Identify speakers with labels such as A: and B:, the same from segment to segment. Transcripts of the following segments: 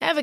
A: Ever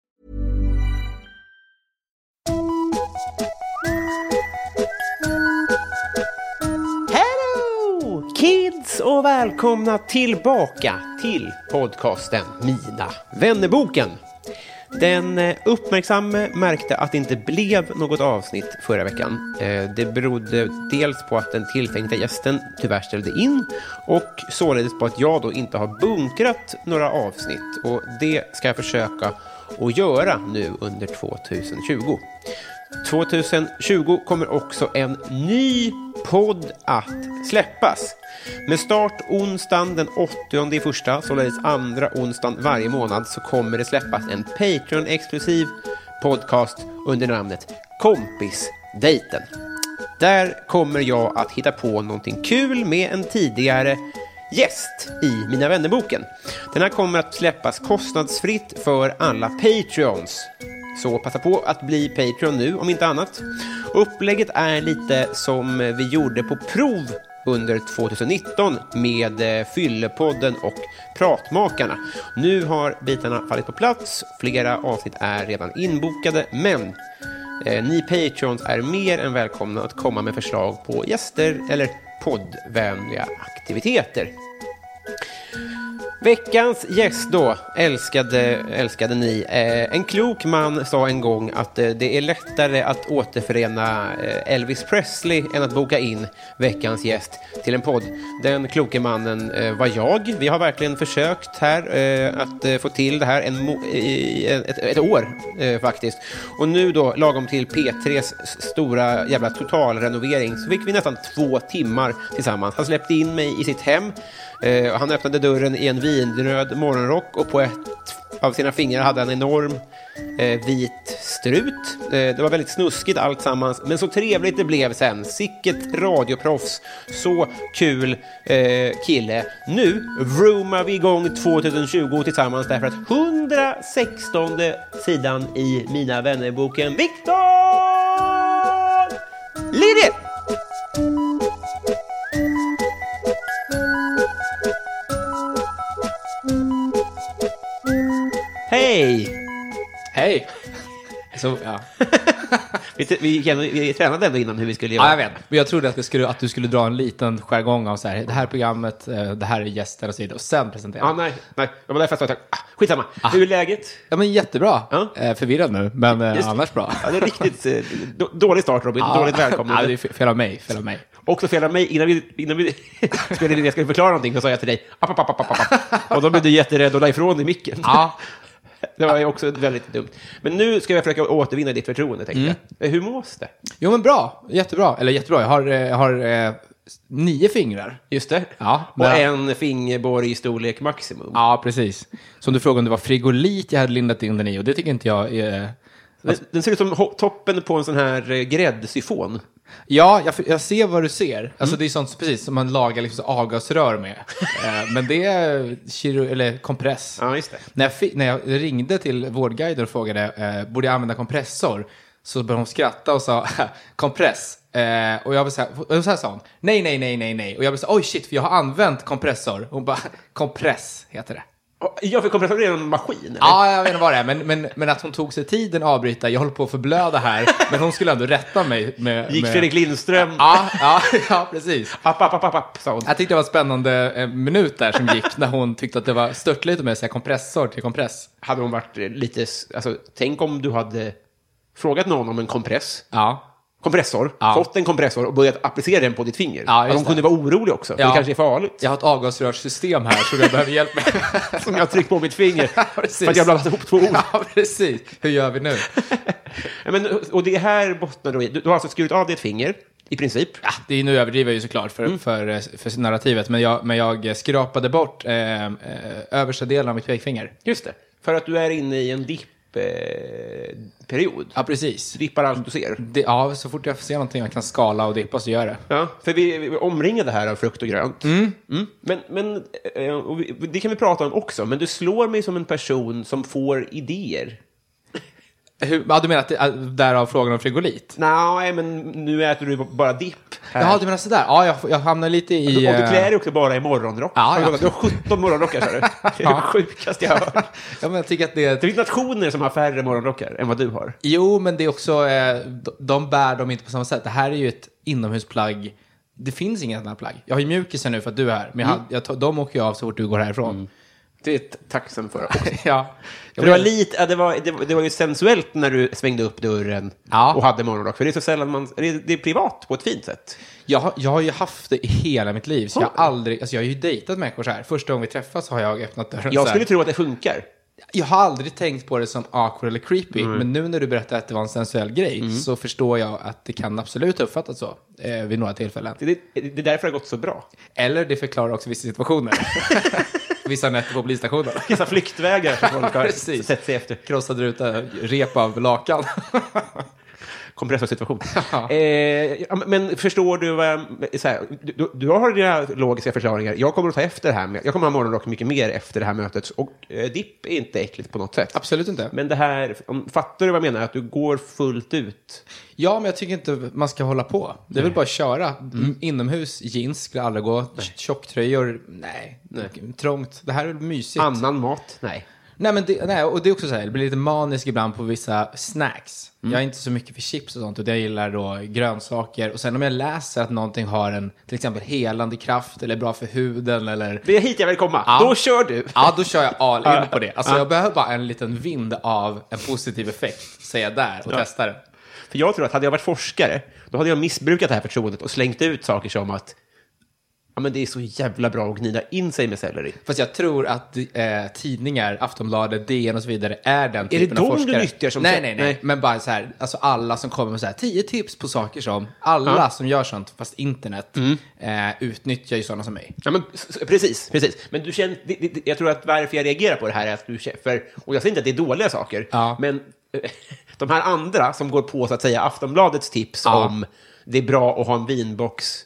B: Hello kids och välkomna tillbaka till podcasten Mina vännerboken. Den eh, uppmärksamme märkte att det inte blev något avsnitt förra veckan. Eh, Det berodde dels på att den tilltänkta gästen tyvärr ställde in och således på att jag då inte har bunkrat några avsnitt och det ska jag försöka att göra nu under 2020. 2020 kommer också en ny podd att släppas. Med start onsdagen den 80 i första, således andra onsdagen varje månad, så kommer det släppas en Patreon-exklusiv podcast under namnet Kompisdejten. Där kommer jag att hitta på någonting kul med en tidigare gäst i Mina vännerboken. Den här kommer att släppas kostnadsfritt för alla Patreons. Så passa på att bli Patreon nu, om inte annat. Upplägget är lite som vi gjorde på prov under 2019 med eh, Fyllepodden och Pratmakarna. Nu har bitarna fallit på plats, flera avsnitt är redan inbokade, men eh, ni Patreons är mer än välkomna att komma med förslag på gäster eller poddvänliga aktiviteter. Veckans gäst då, älskade, älskade ni. Eh, en klok man sa en gång att eh, det är lättare att återförena eh, Elvis Presley än att boka in veckans gäst till en podd. Den kloke mannen eh, var jag. Vi har verkligen försökt här eh, att eh, få till det här en mo- i, eh, ett, ett år eh, faktiskt. Och nu då, lagom till P3s stora jävla totalrenovering, så fick vi nästan två timmar tillsammans. Han släppte in mig i sitt hem. Eh, han öppnade dörren i en vinröd morgonrock och på ett av sina fingrar hade han en enorm eh, vit strut. Eh, det var väldigt snuskigt alltsammans, men så trevligt det blev sen. Sicket radioproffs, så kul eh, kille. Nu vroomar vi igång 2020 tillsammans därför att 116 sidan i Mina vännerboken Viktor Lidit! Hej!
C: Hej!
B: Så,
C: Ja.
B: vi, vi, gick igenom- vi tränade ändå innan hur vi skulle göra.
C: ja, jag vet. Men jag trodde att, vi skulle, att du skulle dra en liten jargong av så här, det här programmet, eh, det här är gästen och så vidare, och sen presentera.
B: Ja,
C: Ja,
B: nej, nej. Det var därför jag sa att jag- ah, Skitsamma. Hur är läget?
C: men jättebra.
B: Ja.
C: Eh, förvirrad nu, men eh,
B: Just-
C: annars bra.
B: Ja, det är riktigt eh, då- dålig start, Robin. Dåligt
C: Ja, det
B: välkomnande.
C: är fel av mig, fel av mig.
B: Också fel av mig. Innan vi, innan vi spelade in, jag skulle förklara någonting, så sa jag till dig app, app, app, app, app, app. Och då blev du jätterädd och la ifrån dig micken.
C: Ja,
B: Det var ju också väldigt dumt. Men nu ska jag försöka återvinna ditt förtroende, tänkte
C: Mm.
B: jag. Eh, Hur mås det?
C: jo men bra, jättebra. Eller jättebra, jag har, eh, jag har eh, nio fingrar.
B: Just det.
C: Ja,
B: och
C: men-
B: en fingerborg i storlek maximum.
C: Ja, precis. Som du frågade om det var frigolit jag hade lindat in den i, och det tycker inte jag är...
B: Den, den ser ut som ho- toppen på en sån här eh, gräddsyfon.
C: Ja, jag, jag ser vad du ser.
B: Mm.
C: Alltså det är sånt precis som man lagar liksom så avgasrör med. Eh, Men det är kiro, eller kompress.
B: Ja, just det.
C: När jag, fi- när jag ringde till vårdguiden och frågade eh, borde jag använda kompressor så började hon skratta och sa kompress. Eh, och jag var så här, och så här sa hon, nej, nej, nej, nej, nej. Och jag blev så här, oj shit, för jag har använt kompressor. Hon bara, kompress heter det.
B: Jag fick kompressor redan en maskin. eller?
C: Ja, jag vet inte vad det är, men, men, men att hon tog sig tiden att avbryta, jag håller på att förblöda här, men hon skulle ändå rätta mig. Med,
B: Gick
C: med...
B: Fredrik Lindström.
C: Ja, ja, ja, precis.
B: App, app, app, app, app, sa hon.
C: Jag tyckte det var en spännande eh, minut där som gick när hon tyckte att det var störtligt att med säga kompressor till kompress.
B: Hade hon varit eh, lite... s- Alltså, tänk om du hade frågat någon om en kompress.
C: Ja,
B: Kompressor.
C: Ja.
B: Fått en kompressor och börjat applicera den på ditt finger.
C: Ja,
B: att
C: just
B: hon kunde
C: det.
B: vara orolig också. För
C: Ja.
B: det kanske är farligt.
C: jag har ett avgasrörssystem här så jag behöver hjälp med.
B: Som jag har tryckt på mitt finger.
C: precis.
B: för att jag blandat ihop två ord.
C: Ja, precis. Hur gör vi nu?
B: Ja, Men, och det här bottnar då i... Du, du har alltså skurit av ditt finger, i princip.
C: Ja, det är nu överdriver jag ju såklart
B: Mm.
C: för, för, eh, för narrativet, men jag, men jag skrapade bort eh, eh, översta delen av mitt pekfinger.
B: Just det. För att du är inne i en dipp-period.
C: Ja, precis.
B: Dippar allt du ser.
C: Det, ja, så fort jag ser någonting jag kan skala och dippa så gör jag det.
B: Ja, för vi, vi omringar det här av frukt och grönt. Mm. Men, men eh, och vi, det kan vi prata om också, men du slår mig som en person som får idéer.
C: Hur, ja, du menar att det, äh, därav frågan om frigolit?
B: Nej, men nu äter du bara dipp. här.
C: Jaha, du menar sådär? Ja, jag, jag hamnar lite i...
B: och du
C: eh,
B: klär dig också bara i morgonrock.
C: Ja, ja.
B: Har Du du har 17 morgonrockar, sa du. Det är det sjukaste jag har hört.
C: ja, men jag tycker att det
B: Det
C: är...
B: finns nationer som har färre morgonrockar än vad du har.
C: Jo, men det är också... Eh, de, de bär dem inte på samma sätt. Det här är ju ett inomhusplagg. Det finns inga sådana plagg. Jag har ju mjukisar nu för att du är här, men
B: Mm.
C: jag, jag, tar- de åker ju av så fort du går härifrån.
B: Det är t- tacksam för. också.
C: ja.
B: Mm. För det, var lite, ja, det, var, det, var, det var ju sensuellt när du svängde upp dörren
C: Ja.
B: och hade morgonrock. För det är så sällan man... Det är, det är privat på ett fint sätt.
C: Jag har, jag har ju haft det i hela mitt liv, så jag har aldrig, alltså jag har ju dejtat människor så här. Första gången vi träffas har jag öppnat dörren
B: Jag
C: så här.
B: skulle tro att det funkar.
C: Jag har aldrig tänkt på det som awkward eller creepy,
B: Mm.
C: men nu när du berättar att det var en sensuell grej så förstår jag att det kan absolut ha uppfattats så eh, vid några tillfällen.
B: Det, det, det är därför det har gått så bra.
C: Eller det förklarar också vissa situationer. vissa nätter på polisstationen.
B: Vissa flyktvägar som folk har
C: Precis.
B: sett sig efter.
C: Krossad ruta, rep av lakan.
B: Kompressorsituation.
C: Ja.
B: eh, ja, men förstår du vad jag... Så här, du- du, du har dina logiska förklaringar. Jag kommer att ta efter det här. Med, jag kommer att ha morgonrock mycket mer efter det här mötet. Och eh, dipp är inte äckligt på något sätt.
C: Absolut inte.
B: Men det här... Om, fattar du vad jag menar? Att du går fullt ut.
C: Ja, men jag tycker inte man ska hålla på. Det är väl bara att köra. Mm. Inomhus, jeans skulle aldrig gå. Tjocktröjor, nej. Trångt. Det här är väl mysigt.
B: Annan mat? Nej.
C: Nej, men det, nej, och det är också så här, det blir lite manisk ibland på vissa snacks. Jag är inte så mycket för chips och sånt, och jag gillar då grönsaker. Och sen om jag läser att någonting har en, till exempel helande kraft eller är bra för huden eller...
B: Det är hit jag vill komma.
C: Ja.
B: Då kör du.
C: Ja, då kör jag all in på det. Alltså
B: Ja.
C: jag behöver bara en liten vind av en positiv effekt, säger jag där och testar det.
B: För jag tror att hade jag varit forskare, då hade jag missbrukat det här förtroendet och slängt ut saker som att ja, men det är så jävla bra att gnida in sig med selleri.
C: Fast jag tror att eh, tidningar, Aftonbladet, DN och så vidare är den
B: det
C: typen av
B: dem du
C: forskare.
B: nyttjar som-
C: nej, nej, nej,
B: Nej.
C: Men bara så här, alltså alla som kommer med så här, tio tips på saker som, alla som gör sånt, fast internet,
B: Mm.
C: eh, utnyttjar ju sådana som mig.
B: Ja, men, s- s- precis, precis. Men du känner, det, det, jag tror att varför jag reagerar på det här är att du känner, för, och jag säger inte att det är dåliga saker,
C: Ja.
B: men eh, de här andra som går på så att säga Aftonbladets tips
C: Ja.
B: om det är bra att ha en vinbox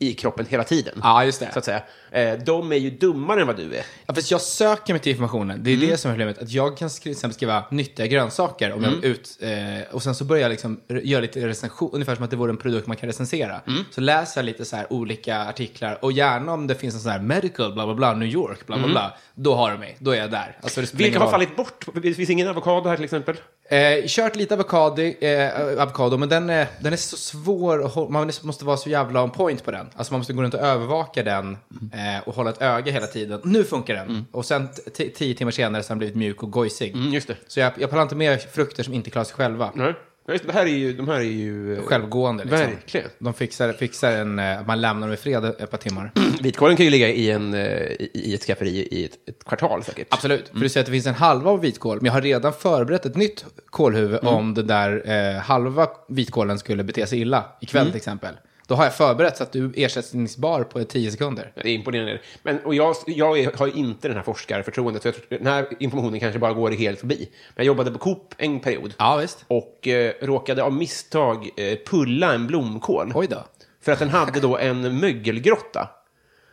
B: i kroppen hela tiden.
C: Ja, just det.
B: Så att säga. Eh, De är ju dummare än vad du är.
C: Ja, fast jag söker mig till informationen. Det är det som är problemet. Att jag kan skri- till exempel skriva nyttiga grönsaker om jag ut, eh, och sen så börjar jag liksom re- göra lite recension, ungefär som att det vore en produkt man kan recensera. Så läser jag lite så här olika artiklar och gärna om det finns en sån här medical, bla bla bla, New York, bla bla bla. Då har du mig, då är jag där. Alltså, det spelar
B: Vilka
C: ingen
B: har
C: roll.
B: fallit bort? Det finns ingen avokado här till exempel.
C: Eh, kört lite avokado, eh, avokado men den är, den är så svår att hå- man måste vara så jävla on point på den. Alltså man måste gå runt och övervaka den eh, och hålla ett öga hela tiden. Nu funkar den!
B: Mm.
C: Och sen t- t- tio timmar senare så har den blivit mjuk och gojsig.
B: just det.
C: Så jag, jag pallar inte med frukter som inte klarar sig själva.
B: Mm. Nej. Ja, just, det. det här är ju... De här är ju eh,
C: Självgående liksom.
B: Verkligen.
C: De fixar, fixar en, eh, man lämnar dem i fred ett par timmar.
B: Vitkålen kan ju ligga i, en, eh, i, i ett skafferi i ett, ett kvartal säkert.
C: Absolut, för du säger att det finns en halva av vitkål, men jag har redan förberett ett nytt kålhuvud om den där eh, halva vitkålen skulle bete sig illa ikväll till exempel. Då har jag förberett så att du är ersättningsbar på 10 sekunder.
B: Det är imponerande. Men, och jag, jag är, har ju inte den här forskarförtroendet, så jag tror, den här informationen kanske bara går helt förbi. Men jag jobbade på Coop en period
C: Ja, visst.
B: och eh, råkade av misstag eh, pulla en blomkål.
C: Oj då.
B: För att den hade då en mögelgrotta.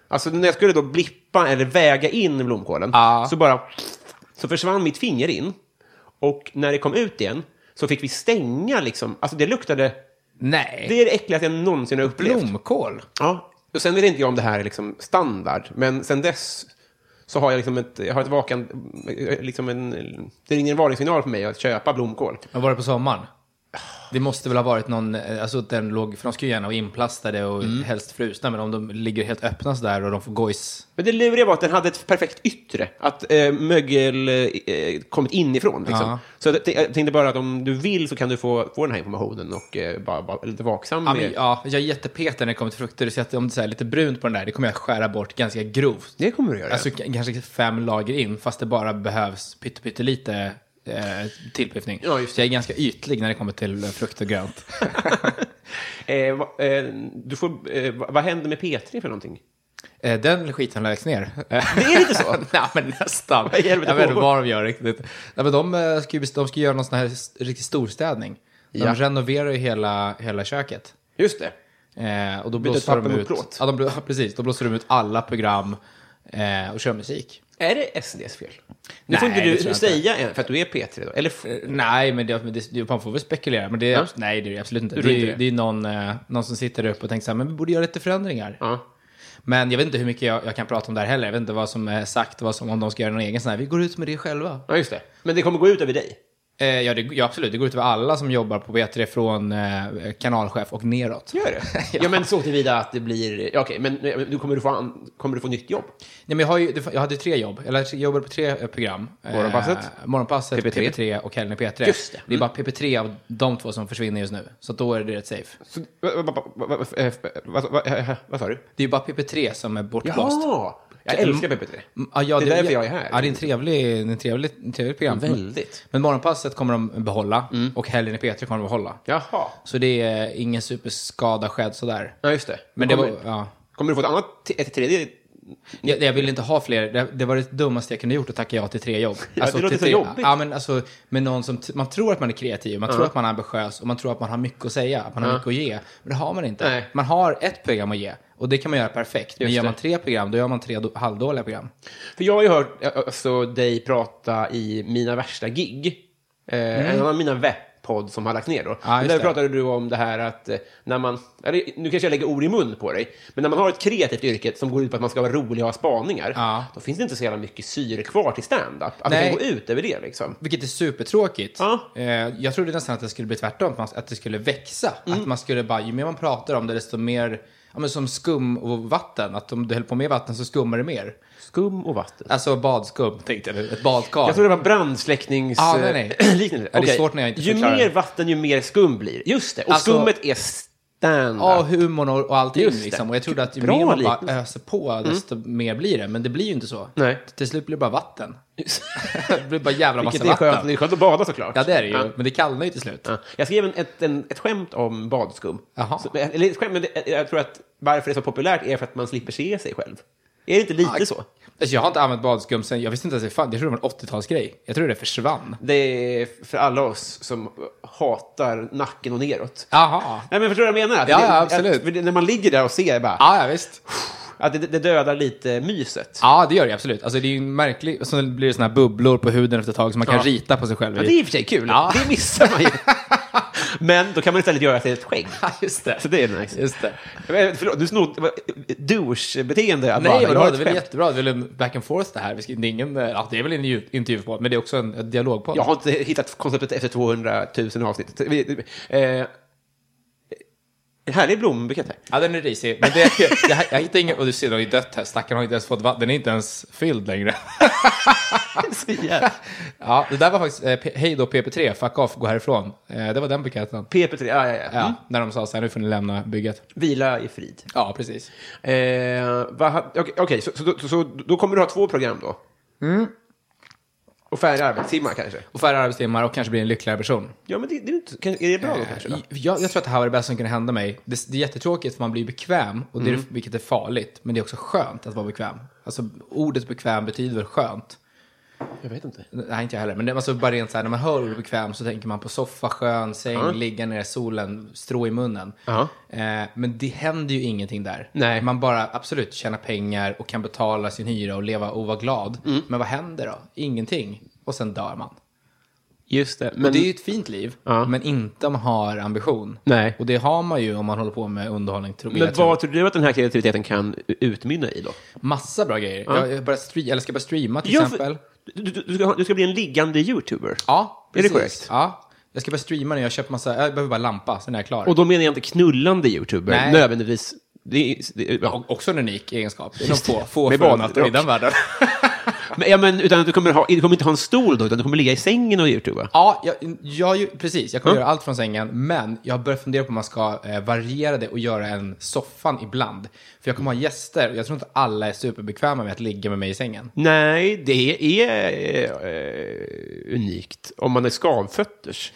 B: Alltså när jag skulle då blippa eller väga in blomkålen
C: Ja.
B: så bara så försvann mitt finger in. Och när det kom ut igen så fick vi stänga liksom. Alltså det luktade,
C: Nej.
B: det är det äckligaste jag någonsin har upplevt.
C: Blomkål?
B: Ja. Och sen vet inte jag om det här är liksom standard, men sen dess så har jag liksom ett, jag har ett vakan, liksom en, det ringer en varningssignal för mig att köpa blomkål.
C: Men var det på sommaren? Det måste väl ha varit någon, eh, alltså att den låg, för de ska ju gärna vara inplastade och helst frusna, men om de ligger helt öppna sådär och de får gojs.
B: Men det luriga var att den hade ett perfekt yttre, att eh, mögel eh, kommit inifrån. Liksom.
C: Ja.
B: Så jag t- jag tänkte bara att om du vill så kan du få, få den här informationen och eh, bara vara lite vaksam.
C: Ja,
B: med-
C: men, ja, jag är jättepetig när det kommer till frukter, så att om det är så här lite brunt på den där, det kommer jag skära bort ganska grovt.
B: Det kommer du göra.
C: Alltså k- kanske fem lager in, fast det bara behövs pytte- pyttelite eh, tillpiffning.
B: Ja, just det.
C: Så jag är ganska ytlig när det kommer till eh, frukt och grönt.
B: eh, va, eh, du får, eh, va, vad händer med P3 för någonting?
C: Eh, Den skiten läggs ner. Det
B: är inte så?
C: Nej, men nästan.
B: Vad i helvete
C: Jag vet inte
B: pågår?
C: vad de gör riktigt. Nej, men de, eh, ska ju, de ska göra någon sån här s- riktig storstädning. De
B: Ja.
C: renoverar ju hela, hela köket.
B: Just det.
C: Eh, och då
B: Byter
C: blåser de
B: papper mot
C: ut...
B: plåt.
C: Ja, de, bl- ja, precis. Då blåser de ut alla program eh, och kör musik.
B: Är det SDs fel? Nu får
C: Nej,
B: inte
C: det
B: du
C: tror jag
B: säga än, för att du är P3 då. Eller f-
C: Eh, Nej, men, det, men det, det, man får väl spekulera. Men det, är- Nej, det är det absolut inte.
B: Du
C: Det
B: tror
C: är,
B: inte
C: ju-
B: det?
C: det är någon, eh, någon som sitter där uppe och tänker så här, men vi borde göra lite förändringar.
B: ja.
C: Men jag vet inte hur mycket jag, jag kan prata om det här heller. Jag vet inte vad som är sagt och vad som, om de ska göra någon egen sån här. Vi går ut med det själva.
B: ja, just det. Men det kommer gå ut över dig.
C: Eh, ja, det, ja, absolut. Det går ut över alla som jobbar på P3 från eh, kanalchef och neråt.
B: Gör det? ja. men så tillvida att det blir... Ja, Okej, men eh, du kommer, du få an, kommer du få nytt jobb?
C: Nej, men jag, har ju, det- jag hade ju tre jobb. Jag jobbade på tre eh, program. Eh,
B: Morgonpasset?
C: Morgonpasset,
B: PP3.
C: PP3, och Helene P3.
B: Just det. Mm.
C: det är bara PP3 av de två som försvinner just nu. Så då är det rätt safe.
B: Så, va- va- va- va- va- eh, vad- vad- eh, vad sa du?
C: Det är ju bara PP3 som är bortblåst.
B: Jaha! Jag älskar PP3.
C: Mm, Ja, ja,
B: Det är därför jag är här.
C: Ja, det är en trevlig, en trevlig, en trevlig program.
B: Väldigt. Mm.
C: Men Morgonpasset kommer de behålla och Helene P3 kommer de behålla.
B: Jaha.
C: Så det är ingen superskada skedd sådär.
B: Ja, just det.
C: Men det var...
B: kommer,
C: Ja.
B: kommer du få ett annat, ett tredje?
C: Jag, jag ville inte ha fler. Det, det var det dummaste jag kunde gjort att tacka ja till tre jobb. Alltså
B: Ja, det låter
C: till
B: så
C: tre-
B: jobbigt.
C: Ja, men alltså, med någon som t- man tror att man är kreativ, man tror att man är ambitiös och man tror att man har mycket att säga, att man har mycket att ge. Men det har man inte.
B: Nej.
C: Man har ett program att ge och det kan man göra perfekt. Men
B: Just
C: gör
B: det.
C: man tre program, då gör man tre do- halvdåliga program.
B: För jag har ju hört eh, alltså, dig prata i Mina värsta gig. Eh, En annan Mina webb-podd som har lagts ner då.
C: Mm. Ja,
B: Men
C: just
B: där
C: det.
B: pratade du om det här att eh, när man, eller, nu kanske jag lägger ord i mun på dig, men när man har ett kreativt yrke som går ut på att man ska vara rolig och ha spaningar,
C: Ja.
B: då finns det inte så jävla mycket syre kvar till stand-up. Att det
C: Nej.
B: kan gå ut över det liksom.
C: Vilket är supertråkigt.
B: Ja.
C: Eh, jag trodde nästan att det skulle bli tvärtom, att man- att det skulle växa.
B: Mm.
C: Att man skulle bara, ju mer man pratar om det, desto mer, ja men som skum och vatten, att om du höll på med vatten så skummar det mer.
B: Skum och vatten.
C: Alltså badskum, tänkte jag, ett badkar.
B: Jag tror det var brandsläcknings...
C: Ah, nej, nej.
B: liknande.
C: Ja, det är
B: Okej.
C: svårt när jag inte
B: ju
C: förklarar.
B: mer vatten, ju mer skum blir det. Just det, och
C: Alltså-
B: skummet är stand-up.
C: Ja, humorn och, och allting.
B: Just det.
C: Liksom. Och jag trodde att ju
B: Bra
C: mer man bara
B: liknelse. Mm.
C: öser på, desto mer blir det. Men det blir ju inte så.
B: Nej.
C: Till slut blir det bara vatten. det blir bara jävla massa
B: Vilket är
C: vatten.
B: skönt, det är skönt att bada såklart.
C: Ja, det är det ju.
B: Ja.
C: Men det kallnar ju till slut.
B: Ja. Jag skrev en, ett, en, ett skämt om badskum.
C: Jaha.
B: Så, eller ett skämt, men det, jag tror att varför det är så populärt är för att man slipper se sig själv. Är det inte lite så?
C: Alltså, jag har inte använt badskum sen, jag visste inte ens det fanns. Jag trodde det var en 80-talsgrej. Jag trodde det försvann.
B: Det är för alla oss som hatar nacken och neråt.
C: Jaha.
B: Nej, men förstår du vad jag menar? Att
C: Ja,
B: det-
C: ja,
B: att-
C: absolut.
B: för det- När man ligger där och ser, bara,
C: Ja, ja visst.
B: att det, det dödar lite myset.
C: Ja, det gör det absolut. Alltså, det är ju en märklig... Och så blir det såna här bubblor på huden efter ett tag som man kan
B: Ja.
C: rita på sig själv
B: Ja,
C: i.
B: det är i och för sig kul.
C: Ja.
B: Det missar man ju. Men då kan man istället göra sig ett skägg.
C: Ja, just det.
B: Så det är nice.
C: Just det.
B: Men, Förlåt, du snodde... vad- Douche-beteende. att bara-
C: Nej,
B: jag
C: vadå?
B: har ett
C: det är väl
B: skämt.
C: jättebra. Det är väl en back and forth det här. Vi ska, det, är ingen, ja, det är väl en intervju- intervjupodd, men det är också en, en dialogpodd.
B: Jag har inte hittat konceptet efter 200 000 avsnitt. Vi- Eh, en härlig blombukett här.
C: Ja, den är risig. Men det, jag, jag, jag hittar ingen... Och du ser, den har ju dött här. Stackaren har inte ens fått vatten. Den är inte ens fylld längre.
B: Så jävla-
C: Ja, det där var faktiskt... Eh, P- hej då PP3, fuck off, gå härifrån. Eh, det var den buketten.
B: PP3, ja, ja, ja.
C: Ja, när de sa så här, nu får ni lämna bygget.
B: Vila i frid.
C: Ja, precis.
B: Eh, vad ha- Okej, okej, så, så, då- så, så då kommer du ha två program då? Mm. Och färre arbetstimmar kanske?
C: Och färre arbetstimmar och kanske bli en lyckligare person.
B: Ja, men det, det är, inte, kan- är det bra
C: Eh,
B: då kanske? Då?
C: Jag, jag tror att det här var det bästa som kunde hända mig. Det, det är jättetråkigt för man blir bekväm, och det är,
B: Mm.
C: vilket är farligt. Men det är också skönt att vara bekväm. Alltså ordet bekväm betyder väl skönt?
B: Jag vet inte.
C: Nej, inte jag heller. Men det, alltså, bara rent så här, när man hör ordet bekväm så tänker man på soffa, skön, säng, ligga ner i solen, strå i munnen.
B: Ja.
C: Eh, men det händer ju ingenting där.
B: Nej.
C: Man bara absolut tjänar pengar och kan betala
B: Mm.
C: sin hyra och leva och vara glad. Men vad händer då? Ingenting. Och sen dör man.
B: Just det.
C: Men,
B: Men,
C: det är ju ett fint liv,
B: Ja.
C: men inte om man har ambition.
B: nej.
C: Och det har man ju om man håller på med underhållning. Tror
B: Men
C: jag tror.
B: vad tror du att den här kreativiteten kan utmynna i då?
C: Massa bra grejer. Jag, jag, börjar stre- eller ska börja streama till
B: Ja, för-
C: exempel.
B: Du, du, du, ska, ha- du ska bli en liggande youtuber.
C: Ja,
B: Är det
C: precis.
B: korrekt?
C: Ja. Jag ska börja streama nu. Jag köper massa... Jag behöver bara lampa, sen är jag klar.
B: Och då menar jag inte knullande youtuber,
C: Nej.
B: nödvändigtvis. Det är, det är,
C: O-
B: ja.
C: också en unik egenskap. Det är nog få, få
B: Med
C: förunnat
B: badrock.
C: i den världen.
B: Men, ja, men, utan att du kommer, ha, du kommer inte ha en stol då, utan du kommer ligga i sängen och youtuba.
C: Ja, jag, jag, ju- precis. Jag kommer
B: Mm.
C: göra allt från sängen, men jag börjar fundera på om man ska eh, variera det och göra en soffan ibland. För jag kommer ha gäster och jag tror inte alla är superbekväma med att ligga med mig i sängen.
B: Nej, det är eh, unikt om man är skavfötters.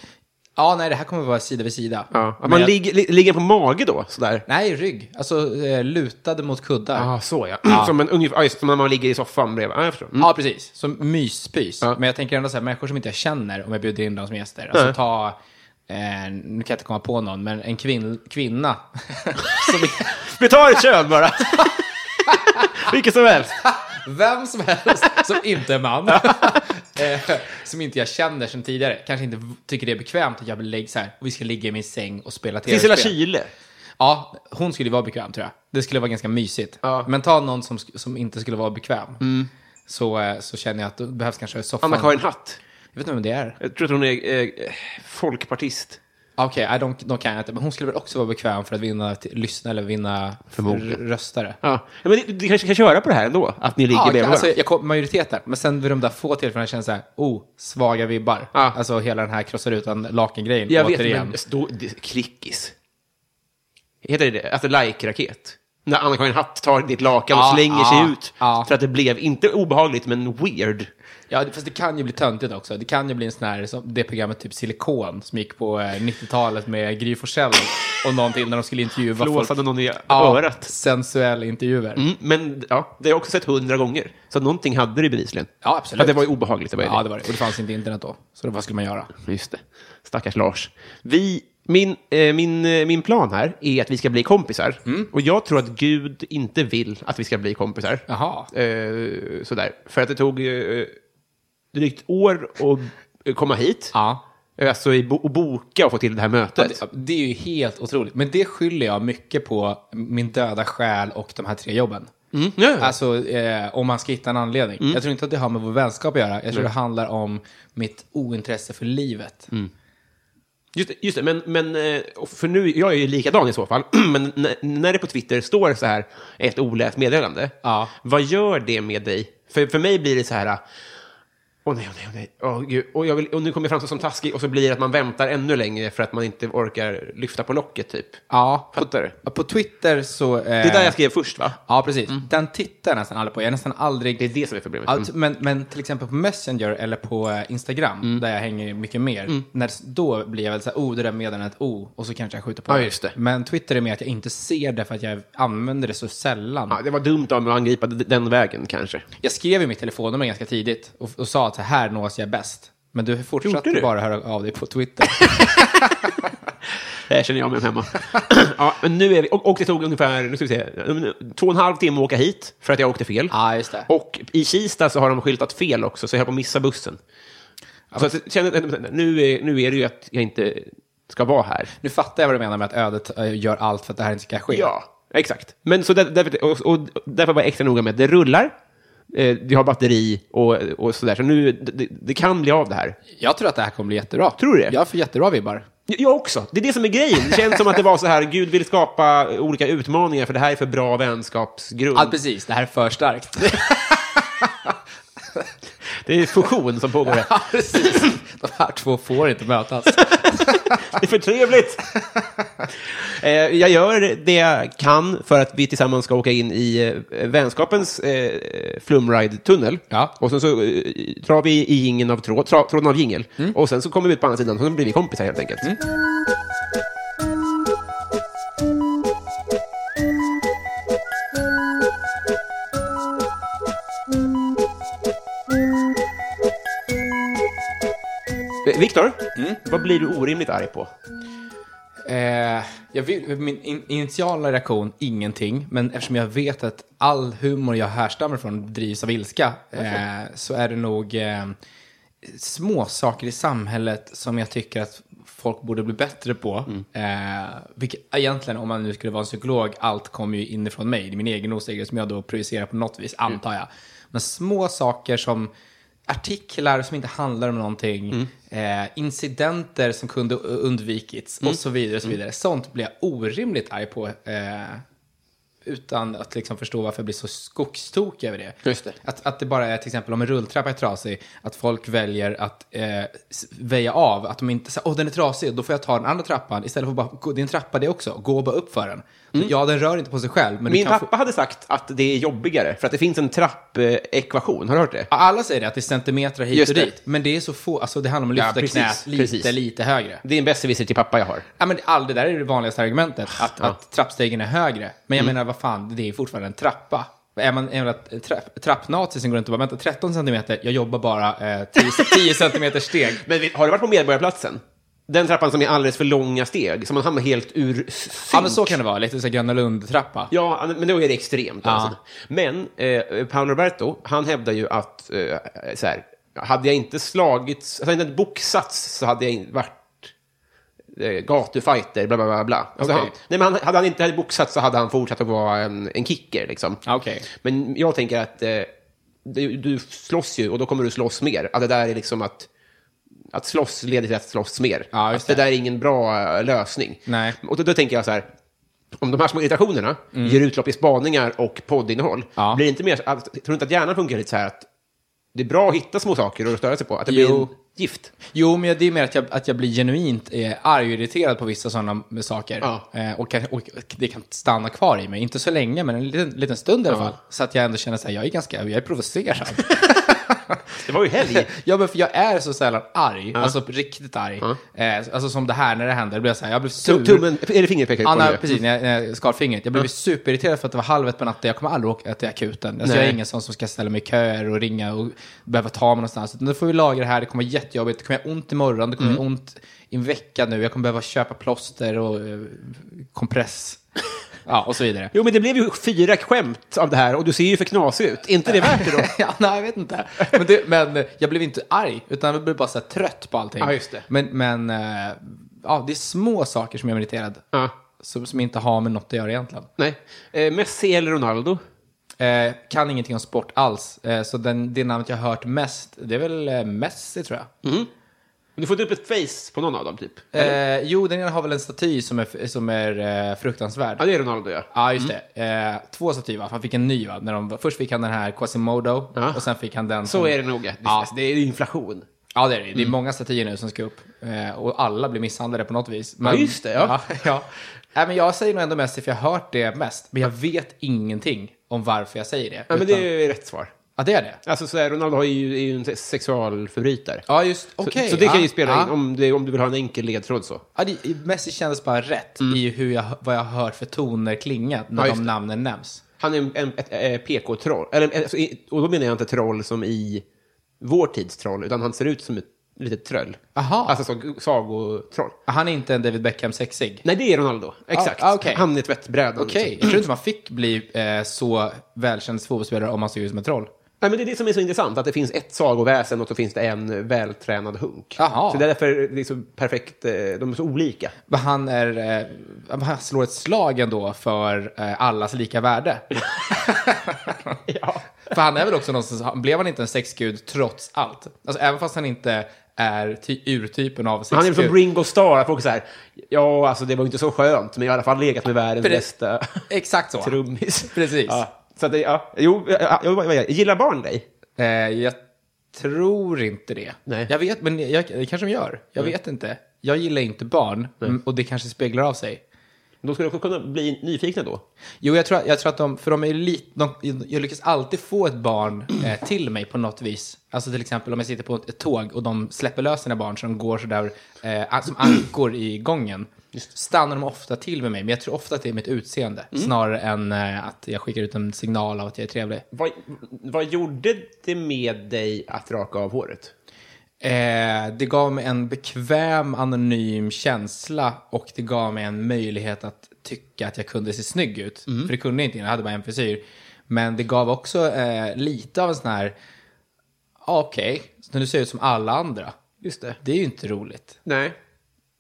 C: Ja, nej, det här kommer vara sida vid sida.
B: Ja. Att
C: Men
B: man
C: jag-
B: ligger, li, ligger på mage då, sådär.
C: Nej, rygg. Alltså eh, lutade mot kuddar.
B: Ja, ah, så ja. Som, en, ungefär, ja, just, som när man ligger i soffan bredvid. Ja, jag förstår. Mm.
C: Ja, precis. Som myspys.
B: Ja.
C: Men jag tänker ändå så här, människor som inte jag känner, om jag bjuder in dem som gäster. Alltså
B: Nej.
C: ta, eh, nu kan jag inte komma på någon, men en kvinn, kvinna. som är,
B: Vi tar ett kön bara. Vilket som helst.
C: vem som helst som inte är man. eh, som inte jag känner sedan tidigare. Kanske inte v- tycker det är bekvämt att jag vill lägga så här, och vi ska ligga i min säng och spela
B: Sissela
C: tv-spel.
B: Kyle.
C: Ja, hon skulle vara bekväm tror jag. Det skulle vara ganska mysigt.
B: Ja. Mm.
C: Men ta någon som, sk- som inte skulle vara bekväm. Så, eh, så känner jag att det behövs kanske soffan.
B: Anna-Karin Hatt.
C: Jag vet inte vem det är.
B: Jag tror att hon är eh, folkpartist.
C: Ah, Okej, okay, de, de kan jag inte. Men hon skulle väl också vara bekväm för att vinna, till, lyssna eller vinna
B: Förmodligen.
C: r- röstare.
B: Ja. Ja, men du kanske kan köra på det här ändå? Att ni ligger
C: Ja,
B: bredvid
C: alltså,
B: varandra?
C: jag kom, majoriteten. Men sen vid de där få tillfällena känns det så här, oh, svaga vibbar.
B: Ja.
C: Alltså hela den här krossar utan lakan-grejen
B: Jag vet,
C: återigen.
B: men då, det, klickis. Heter det det? Alltså like-raket? När Anna-Karin Hatt tar ditt lakan och
C: Ja,
B: slänger
C: ja,
B: sig ut.
C: ja.
B: För att det blev, inte obehagligt, men weird.
C: Ja, det- fast det kan ju bli töntigt också. Det kan ju bli en sån här, som det programmet typ Silikon, som gick på eh, 90-talet med Gry Forssell och någon till när de skulle intervjua
B: Flåsade
C: folk.
B: någon i
C: Ja,
B: örat.
C: sensuella intervjuer.
B: Mm, men ja, det har jag också sett hundra gånger. Så någonting hade det bevisligen.
C: Ja, absolut.
B: För att det var ju obehagligt. Det var ju
C: Ja, det var det. Och det fanns inte internet då. Så då, vad skulle man göra?
B: Just det. Stackars Lars. Vi, min, eh, min, eh, min plan här är att vi ska bli kompisar.
C: Mm.
B: Och jag tror att Gud inte vill att vi ska bli kompisar.
C: Jaha.
B: Eh, sådär. För att det tog eh, drygt år att komma hit.
C: Ja.
B: Eh, Alltså i bo- och boka och få till det här mötet.
C: Ja, Det, det är ju helt otroligt. Men det skyller jag mycket på min döda själ och de här tre jobben.
B: Mm. Ja, Mm. ja.
C: Alltså eh, om man ska hitta en anledning. Jag tror inte att det har med vår vänskap att göra. Jag tror det handlar om mitt ointresse för livet.
B: Mm. Just, det, just det, men, men eh, och för nu, jag är ju likadan i så fall, men när, när det på Twitter står så här, ett oläst meddelande,
C: Ja.
B: vad gör det med dig? För, för mig blir det så här, åh nej, åh nej, åh nej, åh gud, och, jag vill, och nu kommer jag fram som taskig, och så blir det att man väntar ännu längre för att man inte orkar lyfta på locket, typ.
C: Ja, på,
B: Fattar du?
C: på Twitter så... Eh,
B: Det är där jag skrev först, va?
C: Ja, precis. Den tittar jag nästan aldrig på. Jag är nästan aldrig...
B: Det är det som är problemet. Mm.
C: Allt, men, men till exempel på Messenger eller på eh, Instagram,
B: Mm.
C: där jag hänger mycket mer, när, då blir jag väl så här, oh, det där meddelandet, oh, och så kanske jag skjuter på
B: Ja, just det.
C: Men Twitter är mer att jag inte ser det för att jag använder det så sällan.
B: Ja, det var dumt av mig att angripa d- den vägen, kanske.
C: Jag skrev ju mitt telefonnummer ganska tidigt och, och sa att så här nås jag bäst. Men du fortsatte
B: Gjorde du?
C: bara höra av dig på Twitter.
B: Här känner jag mig hemma. ja, men nu är vi, och, och det tog ungefär nu ska vi se, um, två och en halv timme att åka hit för att jag åkte fel.
C: Ja, just det.
B: Och i Kista så har de skyltat fel också, så jag höll på att missa bussen. Så att, jag känner, äh, nu, är, nu är det ju att jag inte ska vara här.
C: Nu fattar jag vad du menar med att ödet eh, gör allt för att det här inte ska ske.
B: Ja, exakt. Men så där, därför, och, och därför var jag extra noga med att det rullar, eh, vi har batteri och, och sådär. Så nu, det, det kan bli av det här.
C: Jag tror att det här kommer bli jättebra.
B: Tror du det?
C: Jag får jättebra vibbar.
B: Jag också. Det är det som är grejen. Det känns som att det var så här, Gud vill skapa olika utmaningar för det här är för bra vänskapsgrund.
C: Ja, precis. Det här är för starkt.
B: Det är fusion som pågår här.
C: Ja, precis. De här två får inte mötas.
B: Det är för trevligt! Eh, jag gör det jag kan för att vi tillsammans ska åka in i eh, vänskapens eh, flumride-tunnel.
C: Ja.
B: Och sen så eh, drar vi i jingeln av tråd, tra, tråden av jingel. Och sen så kommer vi ut på andra sidan och så blir vi kompisar helt enkelt. Eh, Viktor, vad blir du orimligt arg på?
C: Eh, jag vill, min in, initiala reaktion, ingenting. Men eftersom jag vet att all humor jag härstammar från drivs av ilska, eh, så är det nog eh, små saker i samhället som jag tycker att folk borde bli bättre på.
B: Mm.
C: Eh, vilket, egentligen, om man nu skulle vara en psykolog, allt kommer ju inifrån mig. Det är min egen osäkerhet som jag då projicerar på något vis,
B: Mm.
C: antar jag. Men små saker som artiklar som inte handlar om någonting,
B: Mm.
C: eh, incidenter som kunde eh, undvikits och så vidare. Och så
B: Mm.
C: vidare. Sånt blir jag orimligt arg på. Eh, utan att liksom förstå varför jag blir så skogstokig över det.
B: Just det.
C: Att, att det bara är till exempel om en rulltrappa är trasig, att folk väljer att eh, s- väja av. Att de inte säger åh den är trasig, då får jag ta den andra trappan. Istället för att bara, "Gå, det är en trappa det också, gå bara upp för den. Ja, den rör inte på sig själv. Men
B: Mm. Min
C: du kan få-
B: pappa hade sagt att det är jobbigare för att det finns en trappekvation. Har du hört det?
C: Ja, Alla säger det, att det är centimeter hit
B: Just
C: och
B: det.
C: dit. Men det är så få, alltså det handlar om att
B: Ja,
C: lyfta
B: precis,
C: knät lite,
B: precis.
C: lite högre.
B: Det är en besserwisser till pappa jag har.
C: Ja, men all, det där är det vanligaste argumentet, att,
B: Ah, Ja. Mm.
C: att trappstegen är högre. Men jag menar, vad fan, det är fortfarande en trappa. Är man, är man ett trapp, trappnazi som går runt och bara, vänta, 13 centimeter, jag jobbar bara eh, 10, 10 centimeter steg.
B: Men vi- har du varit på Medborgarplatsen? Den trappan som är alldeles för långa steg, som man hamnar helt ur s- synk.
C: Ja, men så kan det vara, lite så här Gröna Lund-trappa.
B: Ja, men då är det extremt.
C: Ja.
B: Alltså. Men eh, Paolo Roberto, han hävdar ju att eh, så här, hade jag inte slagits, alltså, hade jag inte boxats så hade jag inte varit eh, gatufighter, bla bla bla. bla. Alltså,
C: Okej.
B: han, nej, men han, hade han inte hade boxats så hade han fortsatt att vara en, en kicker. Liksom.
C: Ja, okej.
B: Men jag tänker att eh, du, du slåss ju och då kommer du slåss mer. Att det där är liksom att att slåss leder till att slåss mer.
C: Ja, just
B: att det
C: det.
B: där är ingen bra eh, lösning.
C: Nej.
B: Och då, då tänker jag så här, om de här små irritationerna ger utlopp i spaningar och poddinnehåll,
C: Mm. Ja.
B: blir det inte mer, att, tror du inte att hjärnan funkar lite så här att det är bra att hitta små saker att störa sig på, att det blir
C: Jo.
B: en gift?
C: Jo, men det är mer att jag, att jag blir genuint eh, arg och irriterad på vissa sådana saker.
B: Ja.
C: Eh, och, kan, och och det kan stanna kvar i mig. Inte så länge, men en liten, liten stund i alla fall. Så att jag ändå känner att jag är ganska, jag är provocerad.
B: Det var ju helg.
C: ja, men för jag är så sällan arg. Alltså riktigt arg. Eh, alltså som det här när det händer. Då blir jag så här, jag blir sur.
B: Tummen, eller fingret
C: Ja, nej,
B: ah,
C: precis, när jag, när jag skar fingret. Jag blev superirriterad för att det var halvet på natten. Jag kommer aldrig åka till akuten. Alltså,
B: Nej.
C: jag är ingen sån som ska ställa mig i köer och ringa och behöva ta mig någonstans. Utan nu får vi laga det här, det kommer vara jättejobbigt. Det kommer göra ont imorgon, det kommer
B: Mm.
C: göra ont i en vecka nu. Jag kommer behöva köpa plåster och eh, kompress. Ja, och så vidare.
B: Jo, men det blev ju fyra skämt av det här och du ser ju för knasig ut. Är inte det värt det då?
C: ja, nej, jag vet inte. Men, det, men eh, jag blev inte arg, utan jag blev bara så här trött på allting.
B: Ja, just det.
C: Men, men eh, ja, det är små saker som jag är irriterad.
B: Ja.
C: Som, som inte har med något att göra egentligen.
B: Nej. Eh, Messi eller Ronaldo?
C: Eh, kan ingenting om sport alls. Eh, så den, det namnet jag har hört mest, det är väl eh, Messi tror jag.
B: Mm. Du får inte upp ett face på någon av dem, typ.
C: Eh, jo, den ena har väl en staty som är, som är eh, fruktansvärd.
B: Ja, det Mm. är Ronaldo, ja.
C: Ja, just det. Eh, två statyer va? Han fick en ny va? När de, först fick han den här Quasimodo
B: Ja.
C: och sen fick han den.
B: Så
C: som-
B: är det Mm. nog. Det,
C: Mm. Ja.
B: det är inflation.
C: Ja, det är det. Det är många statyer nu som ska upp. Eh, och alla blir misshandlade på något vis. Men,
B: just det, ja.
C: ja, ja. Nej, men jag säger nog ändå Messi för jag har hört det mest. Men jag vet ingenting om varför jag säger det.
B: Ja, men det
C: Utan-
B: är rätt svar.
C: ja, det är det.
B: Alltså, så här, Ronaldo har ju, är ju en sexualförbrytare.
C: Ja, just okej,
B: så, så det kan
C: ja,
B: ju spela
C: ja.
B: in om, det, om du vill ha en enkel ledtråd så.
C: Ja, det, Messi kändes bara rätt i hur jag, vad jag hör för toner klinga
B: Mm.
C: när
B: Ja, just
C: de
B: det.
C: namnen nämns.
B: Han är en, en, ett, eh, PK-troll. Eller, eh, alltså, i- och då menar jag inte troll som i vår tids troll, utan han ser ut som ett litet tröll.
C: Aha.
B: Alltså som sagotroll.
C: Han är inte en David Beckham sexig.
B: Nej, det är Ronaldo. Exakt.
C: ah, okej.
B: Han är tvättbrädan. liksom.
C: Okej, jag tror inte man fick bli eh, så välkänd fotbollsspelare om man såg ut som ett troll.
B: Nej, men det är det som är så intressant, att det finns ett sagoväsen och så finns det en vältränad hunk.
C: Aha.
B: Så det är därför det är så perfekt, eh, de är så olika.
C: Men han, är, eh, han slår ett slag ändå för eh, allas lika värde.
B: Ja.
C: För han är väl också någonstans, blev han inte en sexgud trots allt? Alltså även fast han inte är ty- urtypen av sexgud.
B: Han är som Ringo Starr, att folk säger ja, alltså det var ju inte så skönt, men jag har i alla fall legat med världens
C: Pre-
B: bästa
C: Exakt så.
B: trummis.
C: Precis.
B: Ja. Så att det, ja, jo, ja, jo, vad- vad- gillar barn dig?
C: Eh, jag tror inte det.
B: Nej.
C: Jag vet, men jag, det kanske de gör. Jag vet inte. Jag gillar inte barn m- och det kanske speglar av sig.
B: De skulle också kunna bli nyfikna då.
C: Jo, jag tror, jag tror att de, för de är ju lite, de, jag lyckas alltid få ett barn eh, till mig på något vis. Alltså till exempel om jag sitter på ett tåg och de släpper lös sina barn så de går sådär eh, som ankor i gången. Stannar de ofta till med mig, men jag tror ofta att det är mitt utseende snarare än eh, att jag skickar ut en signal av att jag är trevlig.
B: Vad, vad gjorde det med dig att raka av håret?
C: Eh, det gav mig en bekväm, anonym känsla och det gav mig en möjlighet att tycka att jag kunde se snygg ut.
B: Mm.
C: För det kunde jag inte innan, jag hade bara en frisyr. Men det gav också eh, lite av en sån här, ja ah, okej, så när du ser ut som alla andra.
B: Just det.
C: Det är ju inte roligt.
B: Nej.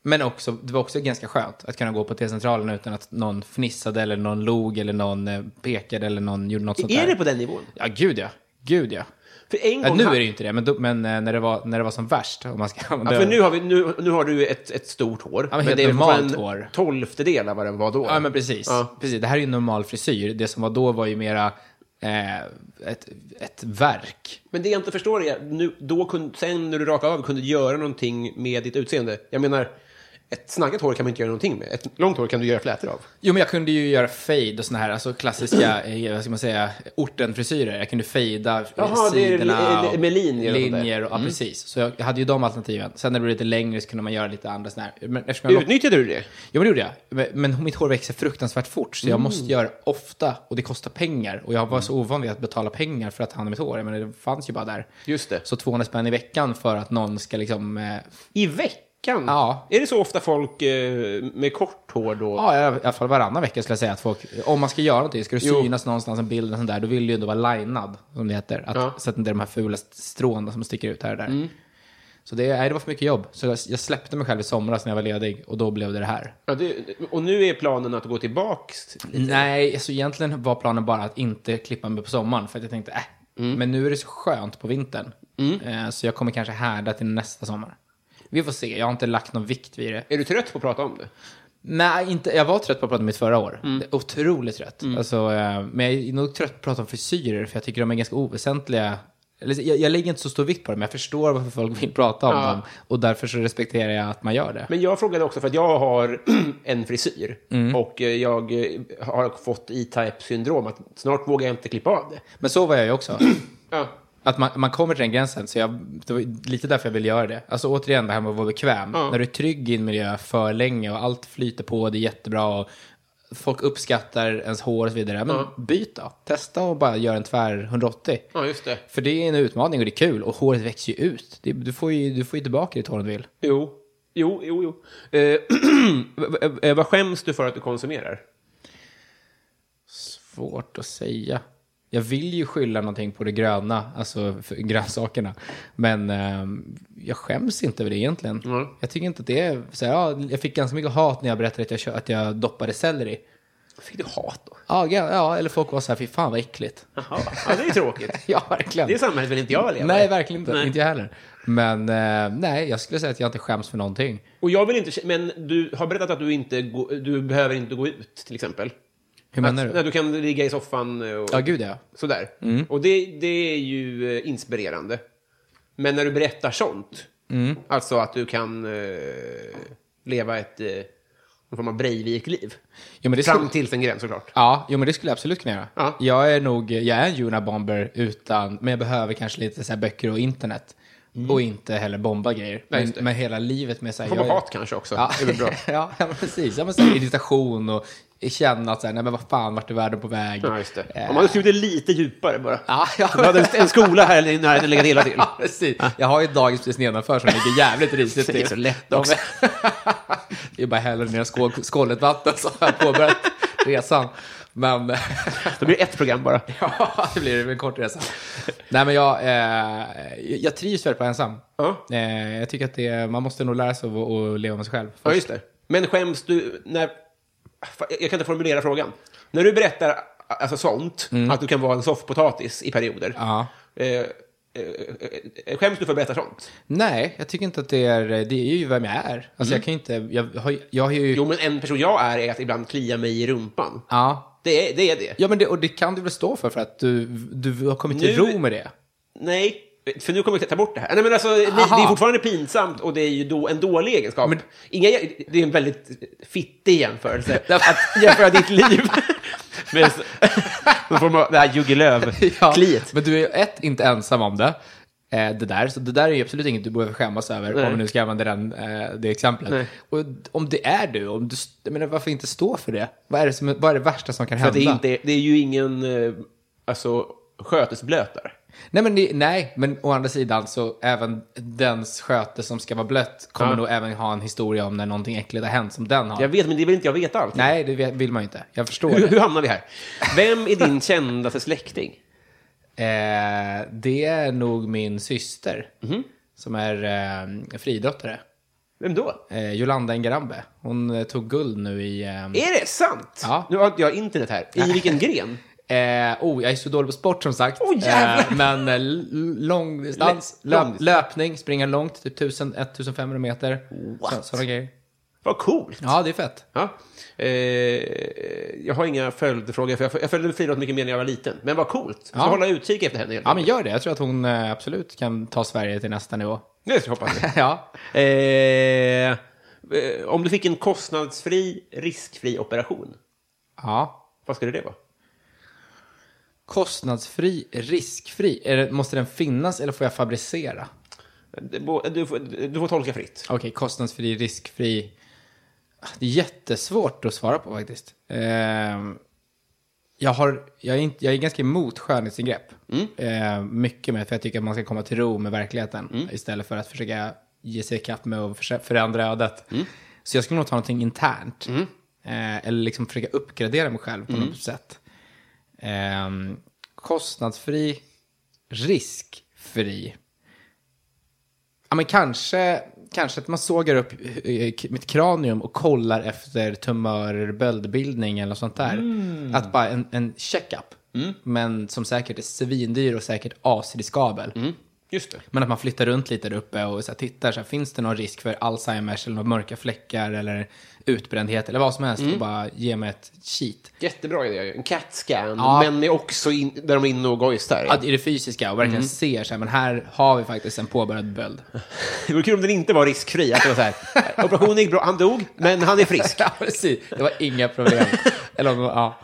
C: Men också, det var också ganska skönt att kunna gå på T-centralen utan att någon fnissade eller någon log eller någon eh, pekade eller någon gjorde något sånt
B: Är
C: där.
B: det på den nivån?
C: Ja, gud ja. Gud ja.
B: För en
C: ja
B: gång
C: nu
B: ha-
C: är det ju inte det, men, då, men eh, när, det var, när det var som värst. Om man ska
B: Ja, för nu har, vi, nu, nu har du ett, ett stort hår.
C: men helt
B: det är
C: normalt
B: fortfarande
C: hår.
B: en tolftedel av vad den var då.
C: Ja, men precis.
B: Ja.
C: precis. Det här är ju en normal frisyr. Det som var då var ju mera eh, ett, ett verk.
B: Men det jag inte förstår är, nu, då kun, sen när du rakade av kunde du göra någonting med ditt utseende. Jag menar, ett snaggat hår kan man inte göra någonting med. Ett långt hår kan du göra flätor av.
C: Jo, men jag kunde ju göra fade och såna här alltså klassiska, eh, vad ska man säga, ortenfrisyrer. Jag kunde fejda eh,
B: Jaha, det är
C: sidorna.
B: li-
C: och
B: med linjer och sånt där. Mm.
C: linjer och, Ja, precis. Så jag hade ju de alternativen. Sen när det blev lite längre så kunde man göra lite andra såna här. Men eftersom jag
B: Utnyttjade du det?
C: Jo, men det gjorde jag. Men, men mitt hår växer fruktansvärt fort, så jag
B: Mm.
C: måste göra ofta och det kostar pengar. Och jag var så ovan vid att betala pengar för att ta hand om mitt hår. Men det fanns ju bara där.
B: Just det.
C: Så 200 spänn i veckan för att någon ska liksom... eh,
B: I veckan?
C: Ja.
B: Är det så ofta folk eh, med kort hår då?
C: Ja, i alla fall varannan vecka skulle jag säga att folk... Om man ska göra någonting, ska det
B: Jo.
C: synas någonstans en bild eller sånt där, då vill du ju ändå vara linad, som det heter. Att,
B: Ja. Mm.
C: Så att inte de här fula stråna som sticker ut här och där. Så det, nej, det var för mycket jobb. Så jag, jag släppte mig själv i somras när jag var ledig och då blev det det här.
B: Ja, det, och nu är planen att gå tillbaks?
C: Nej, alltså egentligen var planen bara att inte klippa mig på sommaren. För att jag tänkte, äh, men nu är det så skönt på vintern. Eh, Så jag kommer kanske härda till nästa sommar. Vi får se, jag har inte lagt någon vikt vid det.
B: Är du trött på att prata om det?
C: Nej, inte, jag var trött på att prata om mitt förra år. Det är Otroligt trött. Alltså, eh, men jag är nog trött på att prata om frisyrer, för jag tycker de är ganska oväsentliga. Eller, Jag, jag lägger inte så stor vikt på dem, men jag förstår varför folk vill prata om dem. Och därför så respekterar jag att man gör det.
B: Men jag frågade också för att jag har en frisyr och eh, jag eh, har fått E-Type-syndrom. Att snart vågar jag inte klippa av det.
C: Men så var jag ju också.
B: Ja.
C: Att man, man kommer till den gränsen, så jag, det var lite därför jag ville göra det. Alltså återigen det här med att vara bekväm. När du är trygg i en miljö för länge och allt flyter på, det är jättebra och folk uppskattar ens hår och så vidare. Men byt då, testa och bara gör en tvär 180.
B: ja, just det.
C: För det är en utmaning och det är kul och håret växer ju ut. Det, du, får ju, du får ju tillbaka ditt hår om du vill.
B: Jo, jo, jo. jo. Eh, eh, vad skäms du för att du konsumerar?
C: Svårt att säga. Jag vill ju skylla någonting på det gröna, alltså för grönsakerna. Men eh, jag skäms inte över det egentligen. Jag tycker inte att det är så här, ja, jag fick ganska mycket hat när jag berättade att jag, kö- att jag doppade selleri.
B: Fick du hat då?
C: Ja, ga- ja, eller folk var så här, fy fan vad äckligt.
B: Jaha, ja, det är tråkigt.
C: ja, verkligen.
B: Det är samhället vill inte jag leva i.
C: nej, verkligen inte. Inte jag heller. Men eh, nej, jag skulle säga att jag inte skäms för någonting.
B: Och jag vill inte, men du har berättat att du inte gå, du behöver inte gå ut, till exempel.
C: Hur menar
B: att,
C: du?
B: När du kan ligga i soffan eh, och
C: Ja, gud Mm. ja.
B: sådär. Och det, det är ju eh, inspirerande. Men när du berättar sånt,
C: Mm.
B: alltså att du kan eh, leva ett, eh, någon form av Breivik-liv.
C: Jo, men det
B: Fram
C: skulle-
B: till en gräns såklart.
C: Ja, jo, men det skulle jag absolut kunna göra.
B: Ja.
C: Jag är nog, jag är en Juna Bomber utan, men jag behöver kanske lite så här böcker och internet. Och inte heller bomba grejer. Men,
B: Mm. just det.
C: men hela livet med så här...
B: Får man
C: jag är-
B: hat kanske också.
C: Ja,
B: Det är väl bra.
C: ja, ja, men precis. Ja, men så här, irritation och känna att så här, nej men vad fan, vart är världen på väg?
B: Ja, just det. Om
C: Eh,
B: man hade skrivit det lite djupare bara.
C: Ja, ja.
B: Då hade en- en skola här i närheten legat illa till.
C: Ja, precis. Jag har ju ett dagis precis nedanför som ligger jävligt risigt till.
B: Det är så lätt
C: De-
B: också.
C: det är bara häller ner skål, skålet vatten så har jag påbörjat resan. Men...
B: Då blir det ett program bara.
C: Ja, det blir det blir en kort resa. Nej, men jag, eh, jag trivs väldigt bra ensam.
B: Ja.
C: Eh, jag tycker att det, är- man måste nog lära sig att, att leva med sig själv.
B: Ja, just det. Men skäms du när... Fan, Jag kan inte formulera frågan. När du berättar alltså, sånt, att du kan vara en soffpotatis i perioder.
C: Ja.
B: Eh, eh, eh, skäms du för att berätta sånt?
C: Nej, jag tycker inte att det är... Det är ju vem jag är. Alltså, jag kan ju inte... Jag har, ju- jag har ju...
B: Mm. Jo, men en person jag är är att ibland klia mig i rumpan.
C: Ja.
B: Det, är, det är det.
C: Ja, men det, och det kan du väl stå för, för att du, du har kommit till
B: Nu-
C: ro med det.
B: Nej, för nu kommer jag ta bort det här. Nej, men alltså, det, det
C: Aha.
B: är fortfarande pinsamt och det är ju då en dålig egenskap.
C: Men-
B: Inga, det är en väldigt fittig jämförelse. att jämföra ditt liv med någon form av det här Jugge
C: Ja,
B: Lööf-kliet.
C: Men du är ju ett, inte ensam om det. Eh, det där, så det där är ju absolut inget du behöver skämmas över om vi nu ska använda den, eh, det exemplet.
B: Nej.
C: Och om det är du, om du jag menar, varför inte stå för det? Vad är det, som, vad är det värsta som kan
B: För att
C: hända?
B: det, är inte, det är ju ingen eh, alltså, skötesblötar.
C: nej, men det, nej, men å andra sidan så även dens sköte som ska vara blött kommer
B: Ja.
C: nog även ha en historia om när någonting äckligt har hänt som den har.
B: Jag vet, men det vill inte jag veta allt.
C: Nej, det vet- vill man ju inte. Jag förstår Eh,
B: Hur,
C: det.
B: hur hamnar vi här? Vem är din kändaste släkting?
C: Eh, det är nog min syster
B: Mhm.
C: som är eh, friidrottare.
B: Vem då?
C: Eh, Jolanda Ngarambe. Hon eh, tog guld nu i... ehm,
B: Är det sant?
C: Ja.
B: Nu har inte jag internet här. I vilken gren?
C: Eh, oh, jag är så dålig på sport som sagt.
B: E- Oh, jävlar!
C: Eh, men eh, l- l- långdistans,
B: Lä-
C: löp,
B: långdistans.
C: löpning, springa långt, typ 1000, 1500 meter.
B: What?
C: Så, sådana grejer.
B: Vad coolt.
C: Ja, det är fett.
B: Ja. Eh, jag har inga följdfrågor, för jag föl- jag följde friidrott mycket mer när jag var liten. Men vad coolt. Ska
C: Ja.
B: hålla utkik efter henne. helt
C: Ja, men
B: enkelt.
C: gör det. Jag tror att hon eh, absolut kan ta Sverige till nästa nivå.
B: Det hoppas jag.
C: ja.
B: Eh, eh, om du fick en kostnadsfri, riskfri operation,
C: ja.
B: vad skulle det vara?
C: Kostnadsfri, riskfri. Är det, måste den finnas eller får jag fabricera?
B: Det- bo- Du får, du får tolka fritt.
C: Okej, kostnadsfri, riskfri. Ah, Det är jättesvårt att svara på faktiskt. Ehm, jag, har, jag, är inte, jag är ganska emot skönhetsingrepp. Ehm, mycket med, för jag tycker att man ska komma till ro med verkligheten istället för att försöka ge sig ikapp med att försä- förändra ödet. Så jag skulle nog ta någonting internt. Ehm, eller liksom försöka uppgradera mig själv på något sätt. Ehm, kostnadsfri, riskfri. Ja, men kanske, kanske att man sågar upp eh, k- mitt kranium och kollar efter tumörer, böldbildning eller något sånt där. Att bara en, en check-up. Men som säkert är svindyr och säkert asriskabel.
B: Just det.
C: Men att man flyttar runt lite där uppe och så här, tittar, så här, finns det någon risk för Alzheimers eller några mörka fläckar eller utbrändhet eller vad som helst och bara ge mig ett cheat.
B: Jättebra idé. ju. En CAT-scan,
C: Ja.
B: men är också in, där de är inne och gojsar.
C: Att i det fysiska och verkligen ser så här, men här har vi faktiskt en påbörjad böld.
B: Det vore kul om den inte var riskfri. Att det var så här, operationen gick bra, han dog, men han är frisk.
C: Ja, precis. Det var inga problem. Eller, om- ja.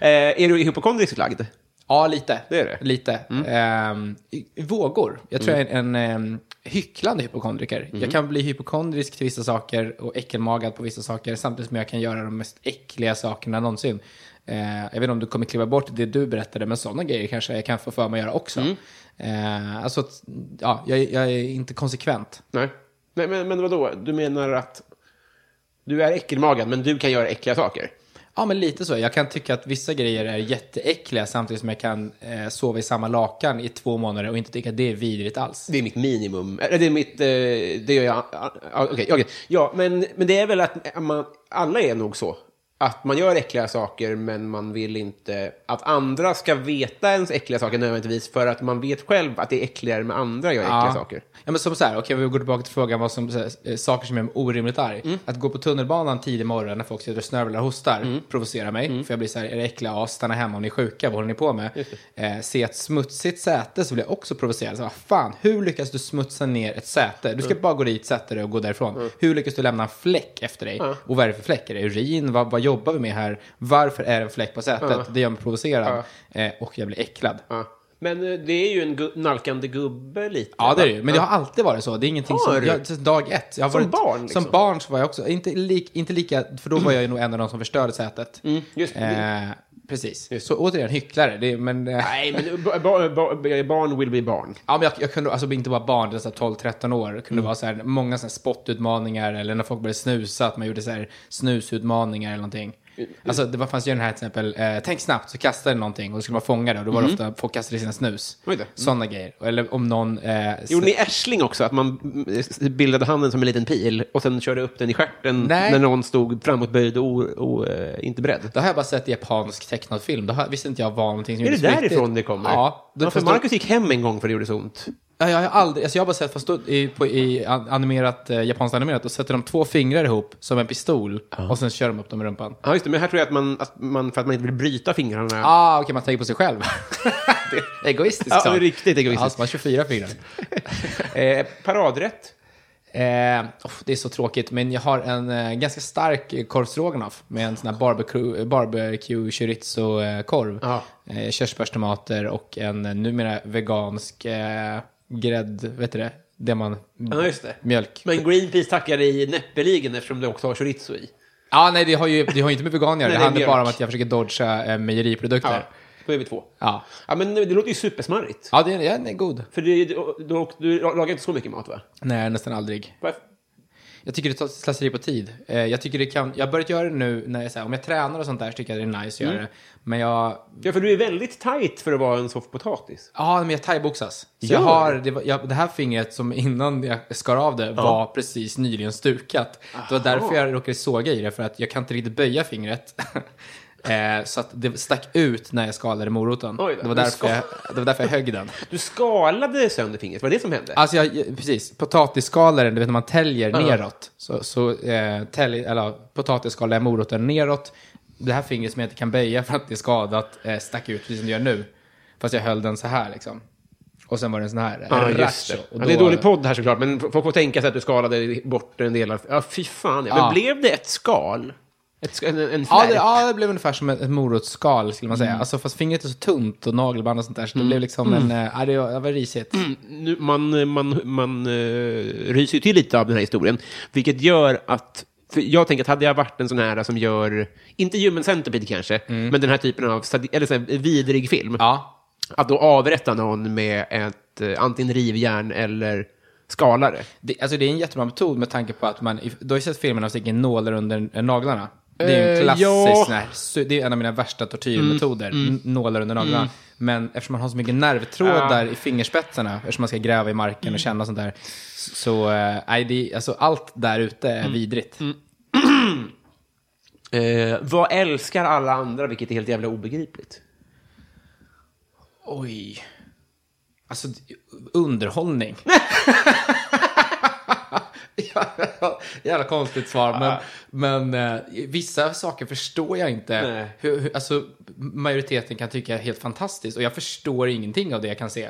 B: Eh, är du hypokondriskt lagd?
C: Ja, lite.
B: Det Mm. är det.
C: Lite. Ehm, i- vågor. Jag tror jag är en, en ehm, hycklande hypokondriker.
B: Mm.
C: Jag kan bli hypokondrisk till vissa saker och äckelmagad på vissa saker samtidigt som jag kan göra de mest äckliga sakerna någonsin. Eh, jag vet inte om du kommer kliva bort det du berättade, men sådana grejer kanske jag kan få för mig att göra också.
B: Mm.
C: Eh, alltså, att, ja, jag, jag är inte konsekvent.
B: Nej. Nej men, men vadå? Du menar att du är äckelmagad, men du kan göra äckliga saker?
C: Ja, men lite så. Jag kan tycka att vissa grejer är jätteäckliga samtidigt som jag kan eh, sova i samma lakan i två månader och inte tycka att det är vidrigt alls.
B: Det är mitt minimum. Eller det är mitt... Eh, det gör jag... ah, ah, Okej, okej. Ja, men, men det är väl att man, alla är nog så. Att man gör äckliga saker, men man vill inte att andra ska veta ens äckliga saker nödvändigtvis, för att man vet själv att det är äckligare med andra gör äckliga saker.
C: Ja, men som så här, okej, vi går tillbaka till frågan vad som, så här, eh, saker som gör mig orimligt arg.
B: Mm.
C: Att gå på tunnelbanan tidig morgon när folk sitter och snörvlar och hostar
B: Mm.
C: provocerar mig. För jag blir så här, era äckliga as, stanna hemma om ni är sjuka, vad håller ni på med? Eh, se ett smutsigt säte så blir jag också provocerad. Så, vad fan, hur lyckas du smutsa ner ett säte? Du ska
B: Mm.
C: bara gå dit, sätta dig och gå därifrån. Hur lyckas du lämna en fläck efter dig?
B: Mm.
C: Och vad är det för fläck? Är det urin? Vad, vad jobbar vi med här? Varför är det en fläck på sätet?
B: Mm.
C: Det gör mig provocerad. Eh, och jag blir äcklad.
B: Ja. Men eh, det är ju en gu- nalkande gubbe lite.
C: Ja, det är det ju.
B: va?
C: Men det har alltid varit så. Det är ingenting
B: Har
C: som...
B: du?
C: Jag, sedan dag ett. Jag har
B: Som
C: varit,
B: barn, liksom?
C: Som barn så var jag också... Inte, lik, inte lika... För då var jag ju nog en av de som förstörde sätet.
B: just det.
C: eh, precis. Så återigen, hycklare. Det, är- men... Eh,
B: Nej, men ba- ba- ba- barn will be barn.
C: Ja, men jag, jag kunde alltså inte vara barn, utan så här 12-13 år. Det kunde
B: Mm.
C: vara så här, många så här spottutmaningar eller när folk började snusa, att man gjorde så här snusutmaningar eller någonting.
B: Mm.
C: Alltså det var, fanns ju den här till exempel, eh, tänk snabbt, så kastade den någonting och då skulle man fånga det och då var det ofta folk kastade sina snus.
B: Mm. Oj då. Mm.
C: Sådana grejer. Eller om någon... Eh,
B: Gjorde ni ärsling också? Att man mm, bildade handen som en liten pil och sen körde upp den i stjärten
C: Nej.
B: när någon stod framåtböjd och, o- och eh, inte beredd?
C: Det har jag bara sett i japansk tecknad film. Det har, visste inte jag var någonting som
B: Är det
C: gjordes på
B: därifrån
C: riktigt.
B: det kommer?
C: Ja.
B: Det
C: Det,
B: ja, för
C: fast då-
B: Marcus gick hem en gång för det gjorde så ont.
C: ja, jag har aldrig, alltså jag har bara sett, fast då, i, på, i an- animerat, eh, japanskt animerat, då sätter de två fingrar ihop som en pistol och sen kör de upp dem i rumpan.
B: Ja, just det. Men här tror jag att man, att man för att man inte vill bryta fingrarna.
C: Ah, okej, man tänker på sig själv. det är egoistiskt.
B: Ja,
C: så.
B: det är riktigt egoistiskt.
C: Alltså, man har 24 fingrar.
B: Eh, paradrätt.
C: Eh, oh, det är så tråkigt, men jag har en eh, ganska stark eh, korv stroganoff med en sån här barbecue, barbecue chorizo-korv.
B: Ja.
C: Eh, körsbärstomater och en eh, numera vegansk eh, grädd, vet du det? Det man...
B: Ja, just det.
C: Mjölk.
B: Men Greenpeace tackar i näppeligen eftersom det också har chorizo i.
C: Ja, nej, det har ju, det har ju inte med vegan att
B: Nej,
C: göra. Det
B: det är
C: handlar bara om
B: mjölk.
C: att jag försöker dodga eh, mejeriprodukter.
B: Ja, då
C: Ja.
B: är vi två.
C: Ja,
B: Ja, men det låter ju supersmarrigt.
C: det, den är god.
B: För du, du, du, du lagar inte så mycket mat, va?
C: Nej, nästan aldrig.
B: Varför?
C: Jag tycker det tar slöseri på tid. Eh, jag, tycker det kan, jag har börjat göra det nu när jag, så här, om jag tränar och sånt där så tycker jag det är nice att
B: Mm.
C: göra det. Men jag,
B: Ja, för du är väldigt tight för att vara en soffpotatis.
C: ja men jag thaiboxas. Så
B: Gör
C: jag har, det, var, jag, det här fingret som innan jag skar av det var precis nyligen stukat. Det var därför jag råkade såga i det, för att jag kan inte riktigt böja fingret. Eh, så att det stack ut när jag skalade moroten.
B: Oj då,
C: det,
B: du
C: var därför
B: ska-
C: jag, det var därför jag högg den.
B: Du skalade sönder fingret, var det det som hände?
C: Alltså, jag, precis. Potatisskalaren, du vet när man täljer neråt. Så, så eh, tälj, eller, potatisskalar jag moroten neråt. Det här fingret som jag inte kan böja för att det är skadat eh, stack ut precis som det gör nu. Fast jag höll den så här liksom. Och sen var det en sån här. eh,
B: Ja, just
C: ratcho.
B: det.
C: Och
B: Ja, det är dålig podd här såklart, men folk får tänka sig att du skalade bort en del av... Ja, fy fan. Ja. Men
C: Ja.
B: blev det ett skal? Ett, sk- en en
C: Ja
B: flärp?
C: det, ja, det blev ungefär som ett, ett morotsskal skulle man
B: Mm.
C: säga. Alltså, fast fingret är så tunt och nagelband och sånt där. Så det blev liksom en... eh, Ja, det var, det var risigt.
B: nu, man man, man eh, ryser ju till lite av den här historien, vilket gör att för jag tänker att hade jag varit en sån här som gör, inte Human Centipede kanske, men den här typen av sadi- eller sån här vidrig film,
C: Mm. Ja.
B: att då avrätta någon med ett eh, antingen rivjärn eller skalare.
C: Det, alltså det är en jättebra metod med tanke på att man, if- du har ju sett filmerna och sticker nålar under eh, naglarna. Det är ju en
B: Eh,
C: klassisk
B: ja. Mm,
C: sån här, su- det är en av mina värsta tortyrmetoder, n- nålar under naglarna. Men eftersom man har så mycket nervtrådar i fingerspetsarna, eftersom man ska gräva i
B: Mm.
C: marken och känna sånt där, så, eh, nej, det, är- alltså allt där ute är
B: Mm.
C: vidrigt.
B: Eh, vad älskar alla andra, vilket är helt jävla obegripligt?
C: Oj. Alltså, d- underhållning. Jävla konstigt svar, men, men eh, vissa saker förstår jag inte.
B: Nej.
C: Hur, hur, alltså, majoriteten kan tycka är helt fantastiskt och jag förstår ingenting av det jag kan se.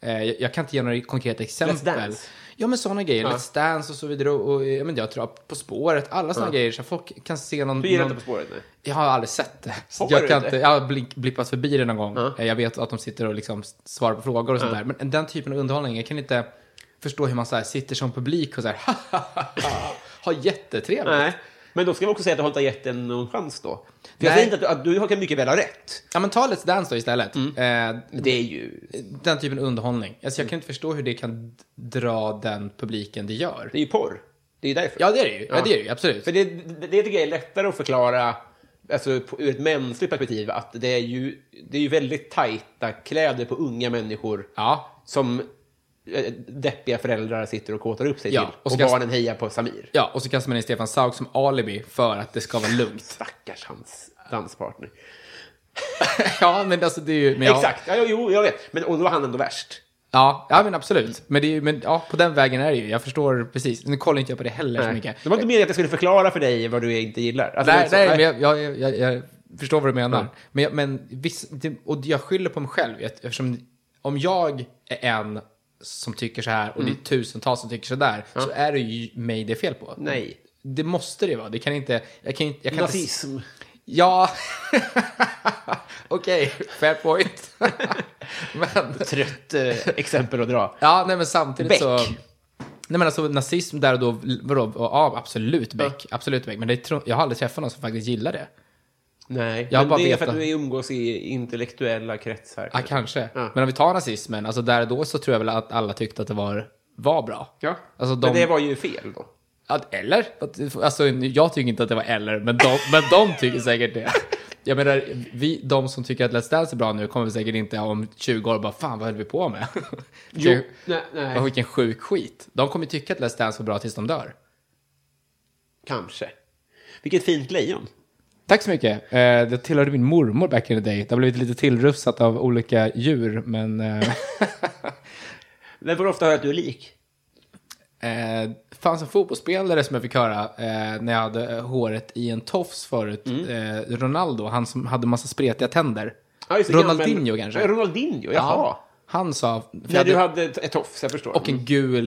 C: Eh, jag, jag kan inte ge några konkreta exempel.
B: Dance.
C: Ja, men sådana grejer. Let's Dance och så vidare. Och, och, ja, men jag tror att På spåret, alla sådana grejer. Så folk kan se någon...
B: Du gillar
C: någon-
B: inte På spåret? Nej.
C: jag har aldrig sett det. Så
B: Har du
C: jag, kan
B: inte?
C: inte, jag har blink, blippat förbi det någon gång. Eh, Jag vet att de sitter och liksom s- svarar på frågor och sånt där. Men den typen av underhållning, jag kan inte förstå hur man så här sitter som publik och så här har jättetrevligt.
B: Nej. Men då ska vi också säga att du har inte gett den någon chans då. För jag
C: Nej.
B: säger inte att du, att du har- kan mycket väl ha rätt.
C: Ja men ta Let's Dance då istället.
B: Mm.
C: Eh,
B: Det är ju
C: den typen av underhållning. Alltså, jag kan inte förstå hur det kan d- dra den publiken det gör.
B: Det är ju porr. Det är ju därför.
C: Ja det är det ju, ja, det är det ju absolut.
B: För det, det, det tycker jag är lättare att förklara alltså, på, ur ett mänskligt perspektiv. Att det är, ju, det är ju väldigt tajta kläder på unga människor
C: Ja,
B: som eh, deppiga föräldrar sitter och kåtar upp sig
C: Ja,
B: till.
C: och
B: Och,
C: ska-
B: barnen hejar på Samir.
C: ja, och så kastar man in Stefan Sauk som alibi för att det ska vara lugnt.
B: Stackars hans danspartner.
C: ja men alltså det är ju... Men jag,
B: Exakt, ja, jo, jo, jag vet. Men, och då var han ändå värst.
C: Ja, ja men absolut. Men, det är, ju- men ja, på den vägen är det ju. Jag förstår precis. Nu kollar inte jag på det heller så mycket.
B: Det var inte meningen att jag skulle förklara för dig vad du inte gillar. Alltså, det
C: Nej,
B: är så-
C: nej, men jag, jag, jag, jag förstår vad du menar. Men, jag- men viss, det, och jag skyller på mig själv. Jag- Eftersom om jag är en som tycker så här och
B: Mm.
C: det är tusentals som tycker så där, så är det ju mig det är fel på.
B: Nej.
C: Det måste det vara. Det kan inte... Jag kan inte... Jag kan inte
B: Nazism.
C: ja. Okej, fair point. men...
B: Trött eh, exempel att dra.
C: Ja, nej men samtidigt
B: Beck.
C: så... Nej men alltså nazism där och då, vadå, ja absolut Beck, absolut Beck. Men det, tror- jag har aldrig träffat någon som faktiskt gillar det.
B: Nej,
C: Jag
B: men
C: bara
B: det är
C: vet
B: för att
C: det.
B: du umgås i intellektuella kretsar.
C: Ja, kanske.
B: Ja.
C: Men om vi tar nazismen, alltså där och då så tror jag väl att alla tyckte att det var, var bra.
B: Ja.
C: Alltså de,
B: Men det var ju fel då.
C: att, eller? Att- Alltså jag tycker inte att det var eller, men de, men de tycker säkert det. Jag menar, vi, de som tycker att Let's Dance är bra nu kommer väl säkert inte om 20 år bara fan vad höll vi på med? Vilken-
B: nej, nej.
C: Vad, vilken sjuk skit. De kommer tycka att Let's Dance var bra tills de dör.
B: Kanske. Vilket fint lejon.
C: Tack så mycket. Eh, det tillhörde min mormor back in the day. Det har blivit lite tillrufsat av olika djur, men... Eh,
B: Vem får ofta höra att du är lik?
C: eh, fanns en fotbollsspelare som jag fick höra eh, när jag hade eh, håret i en tofs förut.
B: Mm.
C: Eh, Ronaldo, han som hade massa spretiga tänder.
B: Ja, just det,
C: Ronaldinho
B: gammal-
C: kanske?
B: Ja, Ronaldinho, jaha.
C: Ja, han sa... för jag
B: När du
C: hade-
B: hade ett ett tofs, jag förstår. Mm.
C: Och en gul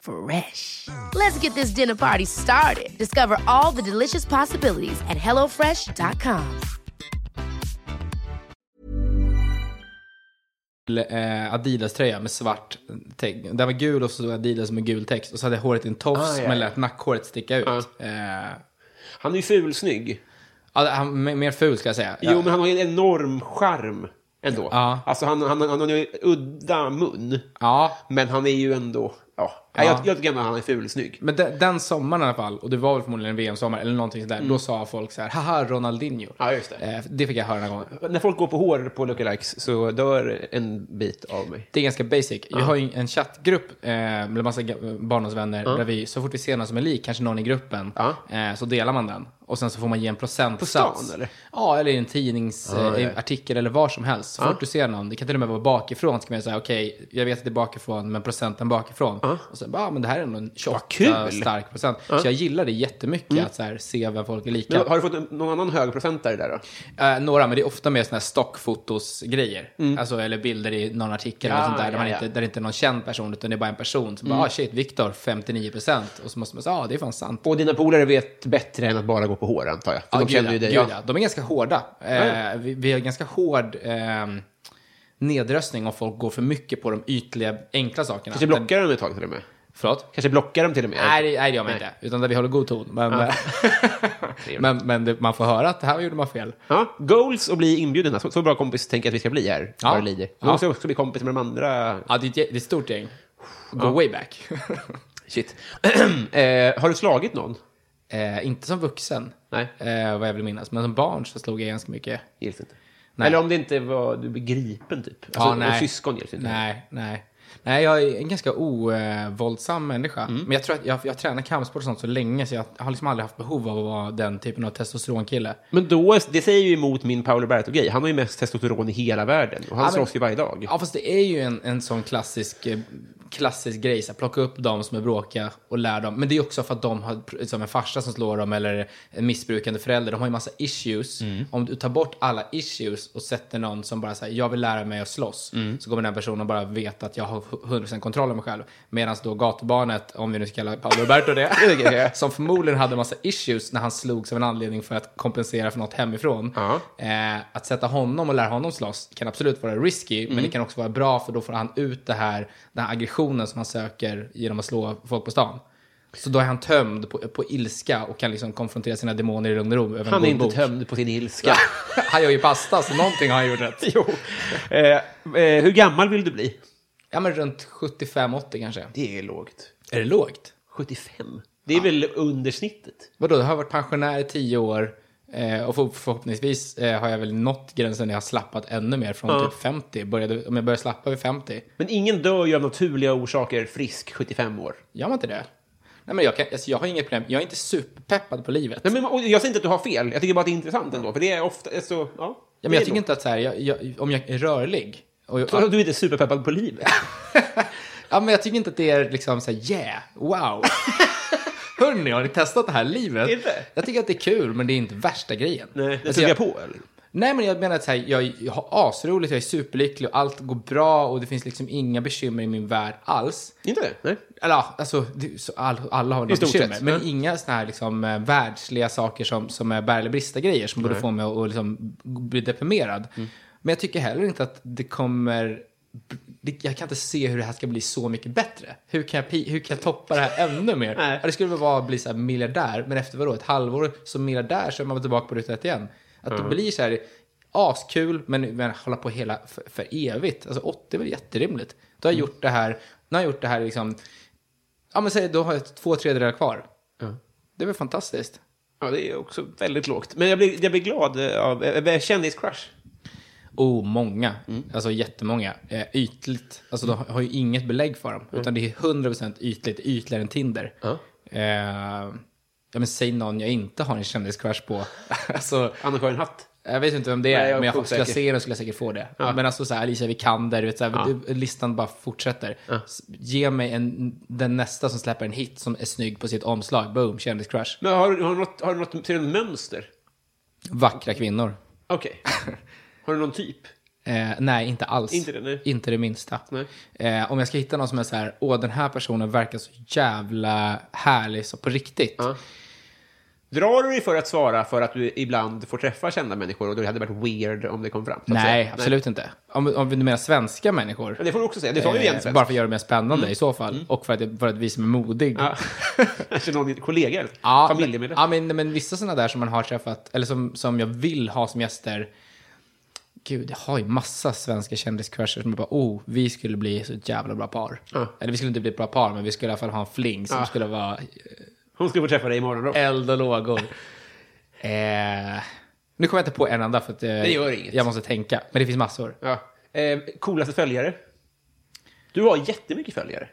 A: Fresh. Let's get this dinner party started. Discover all the delicious possibilities at hellofresh.com.
C: eh, Adidas-tröja med svart text. Den var gul och så stod Adidas med gul text. Och så hade jag håret i en tofs
B: Ah, ja. Ah.
C: men lät nackhåret sticka ut.
B: Ja.
C: Eh,
B: Han är ju fulsnygg.
C: ja, han, mer- mer ful ska jag säga.
B: Jo, men han har ju en enorm charm ändå.
C: Ja.
B: Alltså, han, han, han har ju udda mun.
C: Ja,
B: Men han är ju ändå... Ja. Nej, Jag, jag tycker ändå att han är fulsnygg.
C: men de, den sommaren i alla fall, och det var väl förmodligen en VM-sommar eller någonting sådär, då sa folk så här, haha Ronaldinho.
B: Mm. Ja, just det.
C: Eh, det fick jag höra några gånger.
B: När folk går på hår på lookalikes så dör en bit av mig.
C: Det är ganska basic. Vi har ju en chattgrupp eh, med massa ga- barndomsvänner där vi, så fort vi ser någon som är lik, kanske någon i gruppen,
B: Ja.
C: eh, så delar man den. Och sen så får man ge en procentsats.
B: På stan, eller?
C: Ja, eller i en tidningsartikel eh, artikel eller var som helst. Så fort du ser någon, det kan till och med vara bakifrån, så kan man säga okej, jag vet att det är bakifrån, men procenten bakifrån. Och sen bara, ah, men det här är ändå en 28
B: kul! Mm.
C: stark procent. Så jag gillar det jättemycket, att så här, se vem folk är lika.
B: Men, har du fått en- någon annan hög procentare där då?
C: Eh, några, men det är ofta mer såna här stockfotosgrejer. Alltså, eller bilder i någon artikel eller
B: Mm. Ja,
C: sånt där, där, man
B: ja, Mm. ja.
C: Inte, där det inte är någon känd person, utan det är bara en person som bara, ah, shit, Viktor, 59%. Och så måste man säga, ja, ah, det är fan sant.
B: Och dina polare vet bättre än att bara gå på hår, antar jag. För
C: Ja,
B: de
C: gud,
B: känner ju
C: ja,
B: dig.
C: gud,
B: ja.
C: ja. De är ganska hårda. Eh, vi, vi har ganska hård eh, nedröstning om folk går för mycket på de ytliga, enkla sakerna.
B: Kanske blockar de ett tag till och med.
C: Förlåt?
B: Kanske blockar de till och med.
C: Nej, det- nej, det gör man inte. Utan där vi håller god ton. Men, eh, men, men det, man får höra att det här gjorde man fel.
B: Ja, goals och bli inbjudna. Så, så bra kompis tänker jag att vi ska bli här.
C: Ja.
B: Ja. Vad det lider. Men
C: Ja.
B: också, också bli kompis med de andra.
C: Ja, det är ett, gä- det är ett stort gäng. Go way back.
B: Shit. eh, har du slagit någon?
C: Eh, inte som vuxen,
B: Nej.
C: Eh, vad jag vill minnas. Men som barn så slog jag ganska mycket.
B: Gills inte.
C: Nej.
B: Eller om det inte var du blir gripen, typ. Alltså,
C: Ja,
B: Och syskon gills inte.
C: Nej, nej. Nej, jag är en ganska ovåldsam människa.
B: Mm.
C: Men jag tror att jag, jag tränar kampsport och sånt så länge så jag har liksom aldrig haft behov av att vara den typen av testosteronkille.
B: Men då, är- det säger ju emot min Paolo Berto-grej. Han har ju mest testosteron i hela världen. Och han
C: Ja, men-
B: slåss ju varje dag.
C: Ja, fast det är ju en, en sån klassisk, eh, klassisk grej. Så här, plocka upp de som är bråkiga och lär dem. Men det är också för att de har pr- liksom en farsa som slår dem eller en missbrukande förälder. De har ju massa issues.
B: Mm.
C: Om du tar bort alla issues och sätter någon som bara säger jag vill lära mig att slåss.
B: Mm.
C: Så kommer den här personen bara veta att jag har 100% kontroll över mig själv. Medan då gatubarnet, om vi nu ska kalla Paolo Roberto det, som förmodligen hade massa issues när han slogs av en anledning för att kompensera för något hemifrån.
B: Ja.
C: Eh, att sätta honom och lära honom slåss kan absolut vara risky,
B: Mm.
C: men det kan också vara bra för då får han ut det här, den här aggressionen som han söker genom att slå folk på stan. Så då är han tömd på, på ilska och kan liksom konfrontera sina demoner i lugn och ro. Över en
B: Han är
C: god
B: inte
C: bok.
B: tömd på sin ilska.
C: han gör ju pasta, så någonting har han gjort rätt.
B: jo. Eh, eh, hur gammal vill du bli?
C: Ja, men runt 75-80 kanske.
B: Det är lågt.
C: Är det lågt?
B: 75? Det är väl under snittet?
C: Vadå, jag har varit pensionär i tio år eh, och för, förhoppningsvis eh, har jag väl nått gränsen när jag har slappat ännu mer från typ 50. Började, om jag börjar slappa vid 50,
B: Men ingen dör ju av naturliga orsaker frisk 75 år.
C: Gör man inte det? Nej, men jag, kan, alltså, jag har inget problem. Jag är inte superpeppad på livet.
B: Nej, men, och jag säger inte att du har fel, jag tycker bara att det är intressant ändå. För det är ofta, alltså, ja.
C: ja, men
B: det är
C: jag tycker
B: nog.
C: inte att så här, jag, jag, om jag är rörlig. Och jag,
B: Så att Du är inte superpeppad på livet.
C: ja, men jag tycker inte att det är liksom så här, yeah, wow. Hörni, har ni testat det här livet?
B: Inte?
C: Jag tycker att det är kul, men det är inte värsta grejen.
B: Nej, det
C: Alltså,
B: tuggar
C: jag-
B: på. Eller?
C: Nej, men jag menar att så här, jag, jag har asroligt, jag är superlycklig och allt går bra och det finns liksom inga bekymmer i min värld alls.
B: Inte det? Nej.
C: Eller ja, alltså, det, så all, alla har
B: I
C: väl
B: stort
C: bekymmer.
B: sett,
C: Men
B: ja.
C: inga sådana här liksom, eh, världsliga saker som, som är bär eller brista-grejer som borde få mig att, att liksom, bli deprimerad. Men jag tycker heller inte att det kommer... Det, jag kan inte se hur det här ska bli så mycket bättre. Hur kan jag, pi- hur kan jag toppa det här ännu mer?
B: Nej.
C: Ja, Det skulle väl vara att bli så här miljardär, men efter vadå, ett halvår som miljardär så är man tillbaka på ruta ett igen. Att det blir så här askul, men, men hålla på hela för, för evigt. Alltså 80 är väl jätterimligt. Då har jag gjort det här, nu har jag gjort det här liksom Ja, men säg då har jag två tredjedelar kvar. Det är väl fantastiskt?
B: Ja, det är också väldigt lågt. Men jag blir, jag blir glad eh, av eh, kändiscrush.
C: Oh, många. Alltså jättemånga. Eh, ytligt. Alltså de har- har ju inget belägg för dem. Utan det är 100% ytligt. Ytligare än Tinder. Eh, ja, men säg någon jag inte har en kändiscrush på. alltså,
B: Anna-Karin Hatt.
C: Jag vet inte vem det är,
B: Nej, jag är
C: men jag
B: osäker.
C: skulle jag se den skulle jag säkert få det. Men alltså så här, Alicia Vikander, du vet, så här, du- listan bara fortsätter. S- Ge mig en, den nästa som släpper en hit som är snygg på sitt omslag. Boom, kändiscrush.
B: Men har, har, du något, har du något, ser du något mönster?
C: Vackra kvinnor.
B: Okej. har du någon typ?
C: Eh, nej, inte alls.
B: Inte det, nej.
C: Inte det minsta.
B: Nej.
C: Eh, om jag ska hitta någon som är så här, åh den här personen verkar så jävla härlig så på riktigt.
B: Drar du dig för att svara för att du ibland får träffa kända människor och det hade varit weird om det kom fram? så att
C: Nej,
B: säga?
C: absolut inte. Om, om du menar svenska människor.
B: Men det får du också säga. Det sa ju
C: eh,
B: igen Sven.
C: bara för att göra det mer spännande i så fall. Och för att, för att visa mig modig.
B: Ja. Kanske någon kollega eller
C: Ja, men,
B: familjemedlem.
C: ja men, men vissa sådana där som man har träffat, eller som, som jag vill ha som gäster. Gud, jag har ju massa svenska kändiscrushers som jag bara, oh, vi skulle bli så ett jävla bra par. Eller vi skulle inte bli ett bra par, men vi skulle i alla fall ha en fling som skulle vara
B: Hon ska få träffa dig imorgon då.
C: eld och lågor. eh, nu kommer jag inte på en enda för att eh,
B: Det gör inget.
C: jag måste tänka. Men det finns massor.
B: Ja. Eh, coolaste följare? Du har jättemycket följare.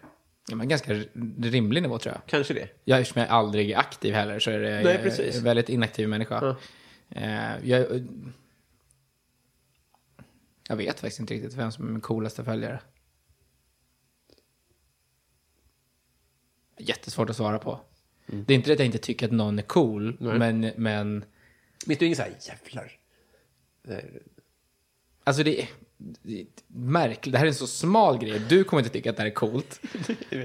C: Ja, men ganska r- rimlig nivå tror jag.
B: Kanske det.
C: Jag, eftersom jag aldrig är aktiv heller så är det
B: Nej,
C: jag är
B: precis.
C: en väldigt inaktiv människa. Eh, jag, jag vet faktiskt inte riktigt vem som är min coolaste följare. Jättesvårt att svara på.
B: Mm.
C: Det är inte det att jag inte tycker att någon är cool, men, men
B: Vet du inget så här, jävlar. Eh,
C: alltså det är, det är märkligt. Det här är en så smal grej. Du kommer inte tycka att det här är coolt.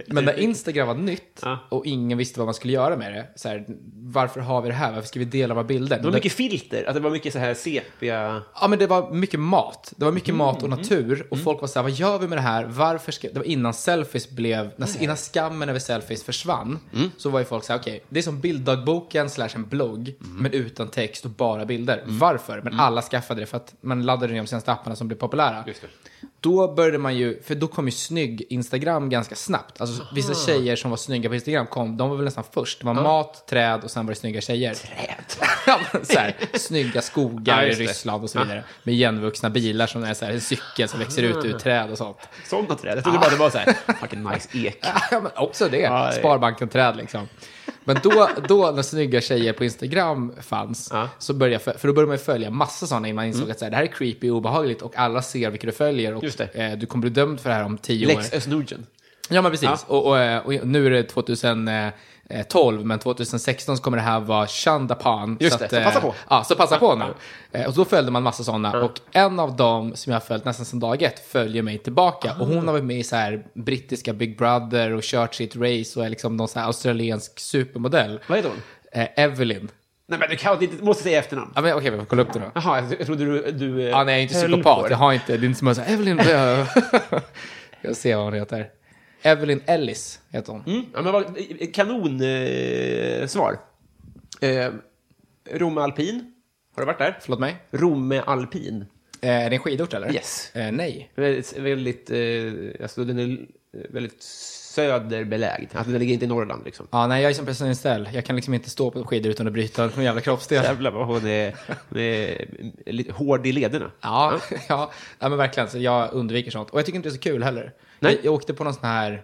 C: Men när Instagram var nytt
B: Ja.
C: och ingen visste vad man skulle göra med det. Så här, varför har vi det här? Varför ska vi dela våra bilder?
B: Det var mycket filter, att det var mycket så här sepia...
C: Ja, men det var mycket mat. Det var
B: Mm,
C: mycket mat och natur. Och folk var så här, vad gör vi med det här? Varför ska... Det var innan selfies blev...
B: Mm.
C: När, innan skammen över selfies försvann. Så var ju folk så här, okej, det är som bilddagboken slash en blogg.
B: Mm.
C: Men utan text och bara bilder. Varför? Men alla skaffade det för att man laddade ner de senaste apparna som blev populära. Då började man ju, för då kom ju snygg Instagram ganska snabbt. Alltså vissa tjejer som var snygga på Instagram kom, de var väl nästan först. Det var mat, träd och sen var det snygga tjejer. Träd? ja, men så här, snygga skogar
B: Ja,
C: i
B: just det.
C: Ryssland och så vidare. Med igenvuxna bilar som är så här, en cykel som växer ut ur träd och sånt.
B: Sådana träd. Jag trodde bara det var så här, fucking nice ek.
C: Ja, men också
B: Ja,
C: det.
B: det-
C: Sparbanken-träd liksom. Men då, då när snygga tjejer på Instagram fanns,
B: Ja. Mm.
C: så började jag, fö- för då började man ju följa massa sådana innan man insåg att så här, det här är creepy och obehagligt och alla ser vilka du följer och
B: Just det.
C: Eh, du kommer bli dömd för det här om tio år.
B: Lex Östnordgen.
C: Ja, men precis. Och, och, eh, och nu är det 2012, men 2016 så kommer det här vara Chandapan.
B: Just det, så
C: eh,
B: passa på.
C: Ja, så passa på nu. Eh, Och då följde man massa sådana. Och en av dem som jag har följt nästan sedan dag ett följer mig tillbaka. Och
B: Ah.
C: hon har varit med i så här brittiska Big Brother och kört sitt race och är liksom någon så här australiensk supermodell.
B: Vad heter hon?
C: Eh, Evelyn.
B: Nej men du kan inte, du måste säga efternamn.
C: Ja, men okej, vi får kolla upp det då.
B: Jaha, jag, jag trodde du... du eh,
C: Ja, nej, jag är inte
B: Ah. höll på
C: psykopat.
B: det.
C: Jag har inte, det är inte som att säga Evelyn... eh, jag ser vad hon heter. Evelyn Ellis heter hon.
B: Mm, Ja, men vad, kanon eh, svar. Eh, Romme Alpin. Har du varit där?
C: Förlåt mig?
B: Romme Alpin.
C: Eh, är det en skidort eller?
B: Yes.
C: Eh, nej.
B: Väldigt, väldigt, eh, alltså den är väldigt söderbelägd. Alltså den ligger inte i Norrland liksom.
C: Ja, nej, jag är som personen ställ. Jag kan liksom inte stå på skidor utan att bryta någon jävla kroppsdel.
B: Jävlar vad hon är, hon är lite hård i lederna.
C: Ja, ja, ja, men verkligen. Så jag undviker sånt. Och jag tycker inte det är så kul heller.
B: Nej.
C: Jag, jag åkte på någon sån här,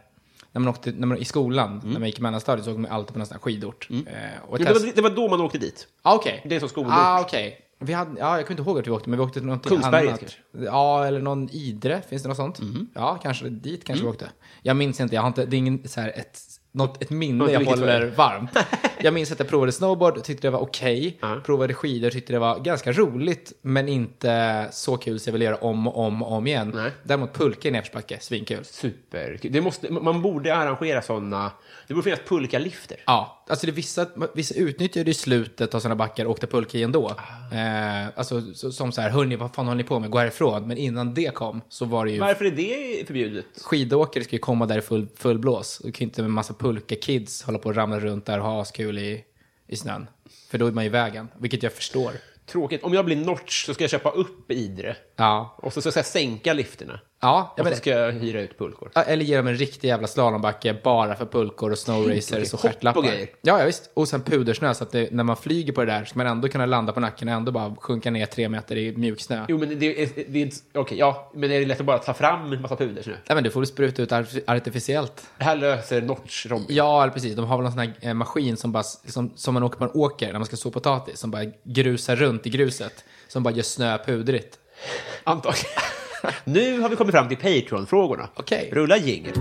C: när man åkte, när man, i skolan, när man gick i mellanstadiet så åkte man alltid på någon sån här skidort. Eh, och
B: Jo, Mm. det, var, det var då man åkte dit.
C: ah, okej.
B: det är som skolort.
C: Ah, okej. Vi hade, ja, jag kunde inte ihåg vart vi åkte, men vi åkte till någonting
B: Kungsberget Mhm.
C: annat.
B: kanske?
C: Ja, eller någon Idre, finns det något sånt? Ja, kanske dit kanske
B: Mm.
C: vi åkte. Jag minns inte, jag har inte, det är ingen, så här, ett, något, ett minne
B: inte
C: jag
B: vilket
C: håller
B: var det.
C: varmt. Jag minns att jag provade snowboard, tyckte det var okej. Provade skidor, tyckte det var ganska roligt, men inte så kul så jag vill göra om och om och om igen.
B: Nej.
C: Däremot pulka i nedförsbacke, svinkul.
B: Super. Det måste, man borde arrangera sådana. Det borde finnas pulkalifter.
C: Ja, alltså det vissa, vissa utnyttjade ju slutet av sina backar och åkte pulka i ändå. Eh, alltså så, som så här, hörni, vad fan håller ni på med? Gå härifrån. Men innan det kom så var det ju...
B: Varför är det förbjudet?
C: Skidåkare ska ju komma där i full, full blås. Du kan ju inte med en massa pulka-kids hålla på och ramla runt där och ha askul i, i snön. För då är man ju i vägen, vilket jag förstår.
B: Tråkigt. Om jag blir notch så ska jag köpa upp Idre.
C: Ja.
B: Och så ska jag sänka lifterna.
C: Ja,
B: Och
C: jag
B: så
C: men,
B: ska jag hyra ut pulkor.
C: Ja, Eller ge dem en riktig jävla slalombacke bara för pulkor och snowracers och
B: Hopp och
C: stjärtlappar.
B: grejer.
C: Ja, ja, visst. Och sen pudersnö, så att det, när man flyger på det där ska man ändå kunna landa på nacken och ändå bara sjunka ner tre meter i mjuk snö.
B: Jo, men det är, det är inte... Okej, ja. Men är det lätt att bara ta fram en massa puders nu?
C: Nej, men du får väl spruta ut arf- artificiellt.
B: Det här löser Notch Robin.
C: Ja, eller precis. De har väl någon sån här eh, maskin som, bara, s- som, som man åker på en åker när man ska så potatis, som bara grusar runt i gruset, som bara gör snö pudrigt.
B: Antagligen. nu har vi kommit fram till Patreon-frågorna.
C: Okej.
B: Rulla jingel.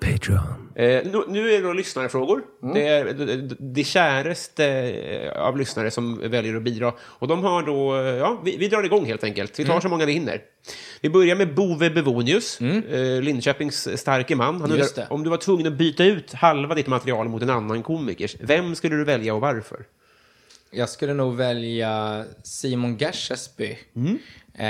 D: Patreon.
B: Eh, nu, nu är det då lyssnarfrågor. Det är det, det käraste eh, av lyssnare som väljer att bidra. Och de har då, eh, ja, vi, vi drar igång helt enkelt. Vi tar så många vi hinner. Vi börjar med Bove Bevonius, eh, Linköpings starke man. Han
C: Just
B: undrar,
C: det.
B: om du var tvungen att byta ut halva ditt material mot en annan komikers, vem skulle du välja och varför?
C: Jag skulle nog välja Simon Gashesby. Eh,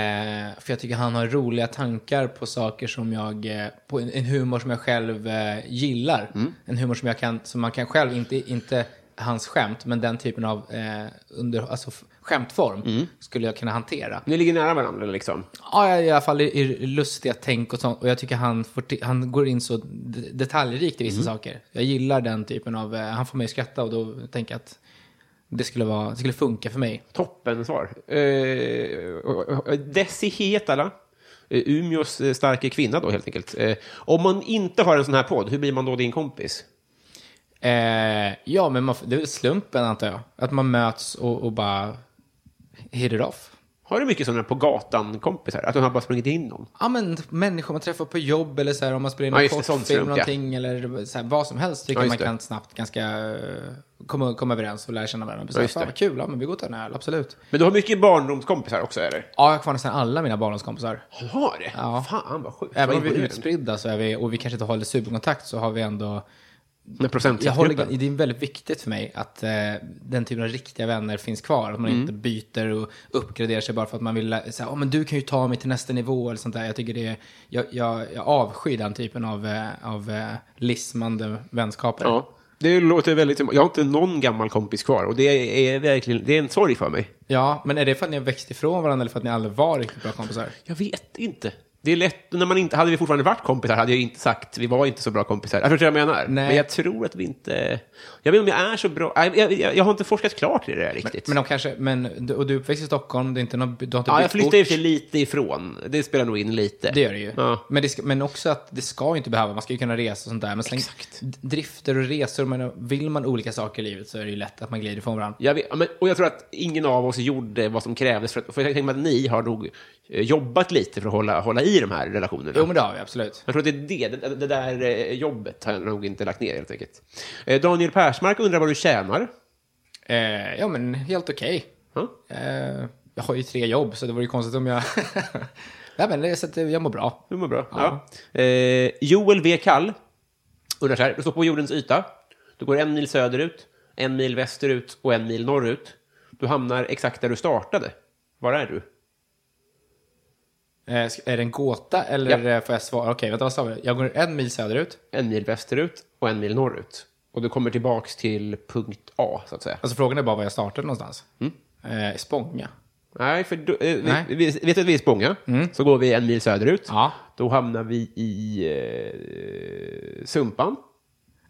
C: för jag tycker han har roliga tankar på saker som jag, eh, på en, en humor som jag själv eh, gillar. En humor som jag kan, som man kan själv, inte, inte hans skämt, men den typen av eh, under, alltså f- skämtform skulle jag kunna hantera.
B: Ni ligger nära varandra liksom.
C: Ja, jag är i alla fall i, i lustiga tänk och sånt. Och jag tycker han, får ti- han går in så d- detaljrikt i vissa
B: Mm.
C: saker. Jag gillar den typen av, eh, han får mig att skratta och då tänker jag att det skulle, vara, det skulle funka för mig.
B: Toppen svar. Eh, Desi Hietala, eh, Umeås eh, starka kvinna då helt enkelt. Eh, om man inte har en sån här podd, hur blir man då din kompis?
C: Eh, ja, men man, f- det är väl slumpen antar jag. Att man möts och, och bara hit it off.
B: Har du mycket sådana på gatan-kompisar? Att du har bara sprungit in någon?
C: Ja, men människor man träffar på jobb eller så här, om man spelar in
B: Ja,
C: en
B: just det, sånt
C: kortfilm
B: slump,
C: eller någonting eller så här, vad som helst tycker
B: Ja,
C: jag
B: just
C: man
B: det.
C: kan snabbt ganska eh, komma, komma överens och lära känna varandra. Så
B: Ja,
C: här,
B: just
C: Fan
B: det.
C: vad kul, ja, men vi går och tar en öl, absolut.
B: Men du har mycket barndomskompisar också, eller?
C: Ja, jag har kvar nästan alla mina barndomskompisar.
B: Du har det?
C: Ja.
B: Fan, vad sjukt.
C: Även
B: Vad
C: om vi är
B: imponerande.
C: utspridda så är vi, och vi kanske inte håller superkontakt så har vi ändå...
B: Med
C: Jag håller,
B: procentgruppen.
C: det är väldigt viktigt för mig att eh, den typen av riktiga vänner finns kvar. Att man
B: Mm.
C: inte byter och uppgraderar sig bara för att man vill lä- säga oh, men du kan ju ta mig till nästa nivå eller sånt där. Jag tycker det är, jag, jag, jag avskyr den typen av, eh, av eh, lismande vänskaper.
B: Ja. Det låter väldigt... Jag har inte någon gammal kompis kvar och det är verkligen... Det är en sorg för mig.
C: Ja, men är det för att ni har växt ifrån varandra eller för att ni aldrig var riktigt bra kompisar?
B: Jag vet inte. Det är lätt, när man inte, hade vi fortfarande varit kompisar hade jag inte sagt vi var inte så bra kompisar. Jag förstår vad jag menar.
C: Nej.
B: Men jag tror att vi inte... Jag vet inte om jag är så bra... nej, Jag, jag, jag har inte forskat klart i det där riktigt.
C: Men de kanske, men, du- och du är uppväxt i Stockholm, det är inte någon, du har inte
B: ja, jag
C: bytt
B: flyttade i och
C: ort.
B: för sig lite ifrån. Det spelar nog in lite.
C: Det gör det ju.
B: Eh, Ja.
C: Men, det ska, men också att det ska ju inte behöva, man ska ju kunna resa och sånt där. Men sen,
B: Exakt.
C: d- drifter och resor, men vill man olika saker i livet så är det ju lätt att man glider ifrån varandra.
B: Jag vet, ja, men, och jag tror att ingen av oss gjorde vad som krävdes. För, att, för jag tänker mig att ni har nog eh, jobbat lite för att hålla, hålla i de här relationerna.
C: Jo men det har vi absolut.
B: Jag tror att det är det, det, det där eh, jobbet har jag nog inte lagt ner helt enkelt. Eh, Daniel Persmark undrar vad du tjänar.
C: Eh, ja men helt okej.
B: Ja.
C: Eh, jag har ju tre jobb så det vore ju konstigt om jag... Nej men det är så att jag mår bra.
B: Det var bra. Ja. Eh, Joel V. Kall undrar så här. Du står på jordens yta. Du går en mil söderut, en mil västerut och en mil norrut. Du hamnar exakt där du startade. Var är du?
C: Eh, ska- är det en gåta eller
B: Ja.
C: eh, får jag svara? Okej, vänta vad sa vi? Jag går en mil söderut.
B: En mil västerut och en mil norrut. Och du kommer tillbaks till punkt A, så att säga.
C: Alltså frågan är bara var jag startade någonstans.
B: Mm.
C: Eh, Spånga.
B: Nej, för då, eh,
C: Nej. Mm.
B: Vi, vi, vet du att vi är i Spånga? Så går vi en mil söderut.
C: Ja.
B: Då hamnar vi i eh, Sumpan.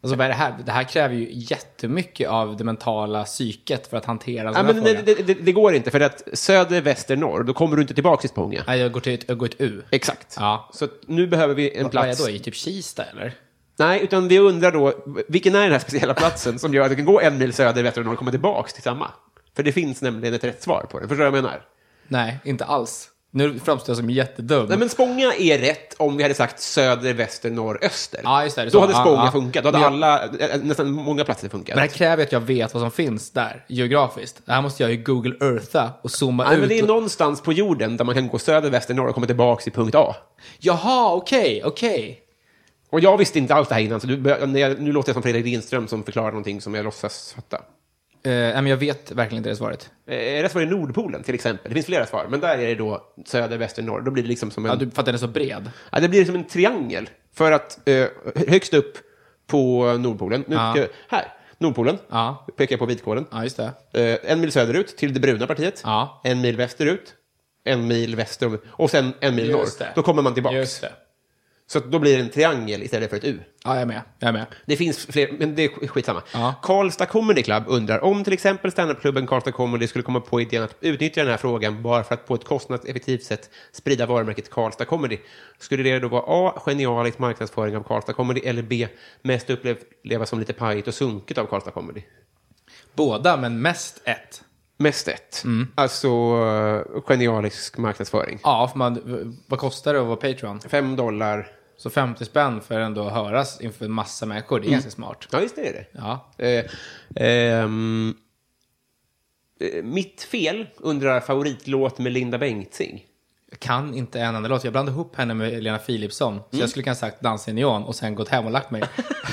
C: Alltså vad är det här? Det här kräver ju jättemycket av det mentala psyket för att hantera en
B: Nej,
C: sån här
B: men
C: fråga.
B: det, det, det, det går inte, för att söder, väster, norr, då kommer du inte tillbaks till Spånga.
C: Nej, jag går till ett, jag går till ett U.
B: Exakt.
C: Ja.
B: Så att nu behöver vi en
C: Vad är jag
B: plats.
C: då? I typ Kista eller?
B: Nej, utan vi undrar då, vilken är den här speciella platsen som gör att du kan gå en mil söder, väster och norr och komma tillbaks till samma? För det finns nämligen ett rätt svar på det. Förstår du vad jag
C: Mm.
B: menar?
C: Nej, inte alls. Nu framstår jag som jättedum.
B: Nej, men Spånga är rätt om vi hade sagt söder, väster, norr, öster.
C: Ja, just det, det är
B: då
C: så.
B: hade
C: Ja,
B: Spånga
C: ja.
B: funkat. Då hade
C: Men jag-
B: alla, eh, eh, nästan många platser funkat.
C: Men det här kräver ju att jag vet vad som finns där, geografiskt. Det här måste jag ju Google Eartha och zooma
B: Nej,
C: ut.
B: men det är
C: och-
B: någonstans på jorden där man kan gå söder, väster, norr och komma tillbaks till punkt A.
C: Jaha, okej, okej.
B: Och jag visste inte allt det här innan, så du, bör- när jag- nu låter jag som Fredrik Lindström som förklarar någonting som jag låtsas fatta.
C: Eh, nej, men jag vet verkligen inte det svaret.
B: Eh, Rätt svar är Nordpolen till exempel. Det finns flera svar, men där är det då söder, väster, norr. Då blir det liksom som en,
C: Ja, du, för att den är så bred.
B: ja, det blir som en triangel. För att eh, högst upp på Nordpolen, nu
C: Ja.
B: ska, här, Nordpolen,
C: Ja.
B: pekar jag på vitkålen.
C: Ja, just det.
B: Eh, en mil söderut till det bruna partiet,
C: Ja.
B: en mil västerut, en mil väster om, och sen en mil norr.
C: Just det.
B: Då kommer man
C: Just
B: tillbaks.
C: det.
B: Så att då blir det en triangel istället för ett U.
C: Ja, jag är med. Jag är med.
B: Det finns fler, men det är skitsamma.
C: Ja.
B: Karlstad Comedy Club undrar om till exempel standupklubben Karlstad Comedy skulle komma på idén att utnyttja den här frågan bara för att på ett kostnadseffektivt sätt sprida varumärket Karlstad Comedy. Skulle det då vara A. Genialisk marknadsföring av Karlstad Comedy eller B. Mest upplevas som lite pajigt och sunkigt av Karlstad Comedy?
C: Båda, men mest ett.
B: Mest ett. Alltså eh, genialisk marknadsföring.
C: Ja, för man, vad kostar det att vara Patreon?
B: Fem dollar.
C: Så 50 spänn för ändå att höras inför en massa människor, det är ganska smart.
B: Ja, just det är det.
C: Ja.
B: Eh, ehm, eh, mitt fel undrar favoritlåt med Linda Bengtzing.
C: Jag kan inte en enda låt. Jag blandade ihop henne med Lena Philipsson. Så
B: Mm.
C: jag skulle kunna sagt Dansa i neon och sen gått hem och lagt mig.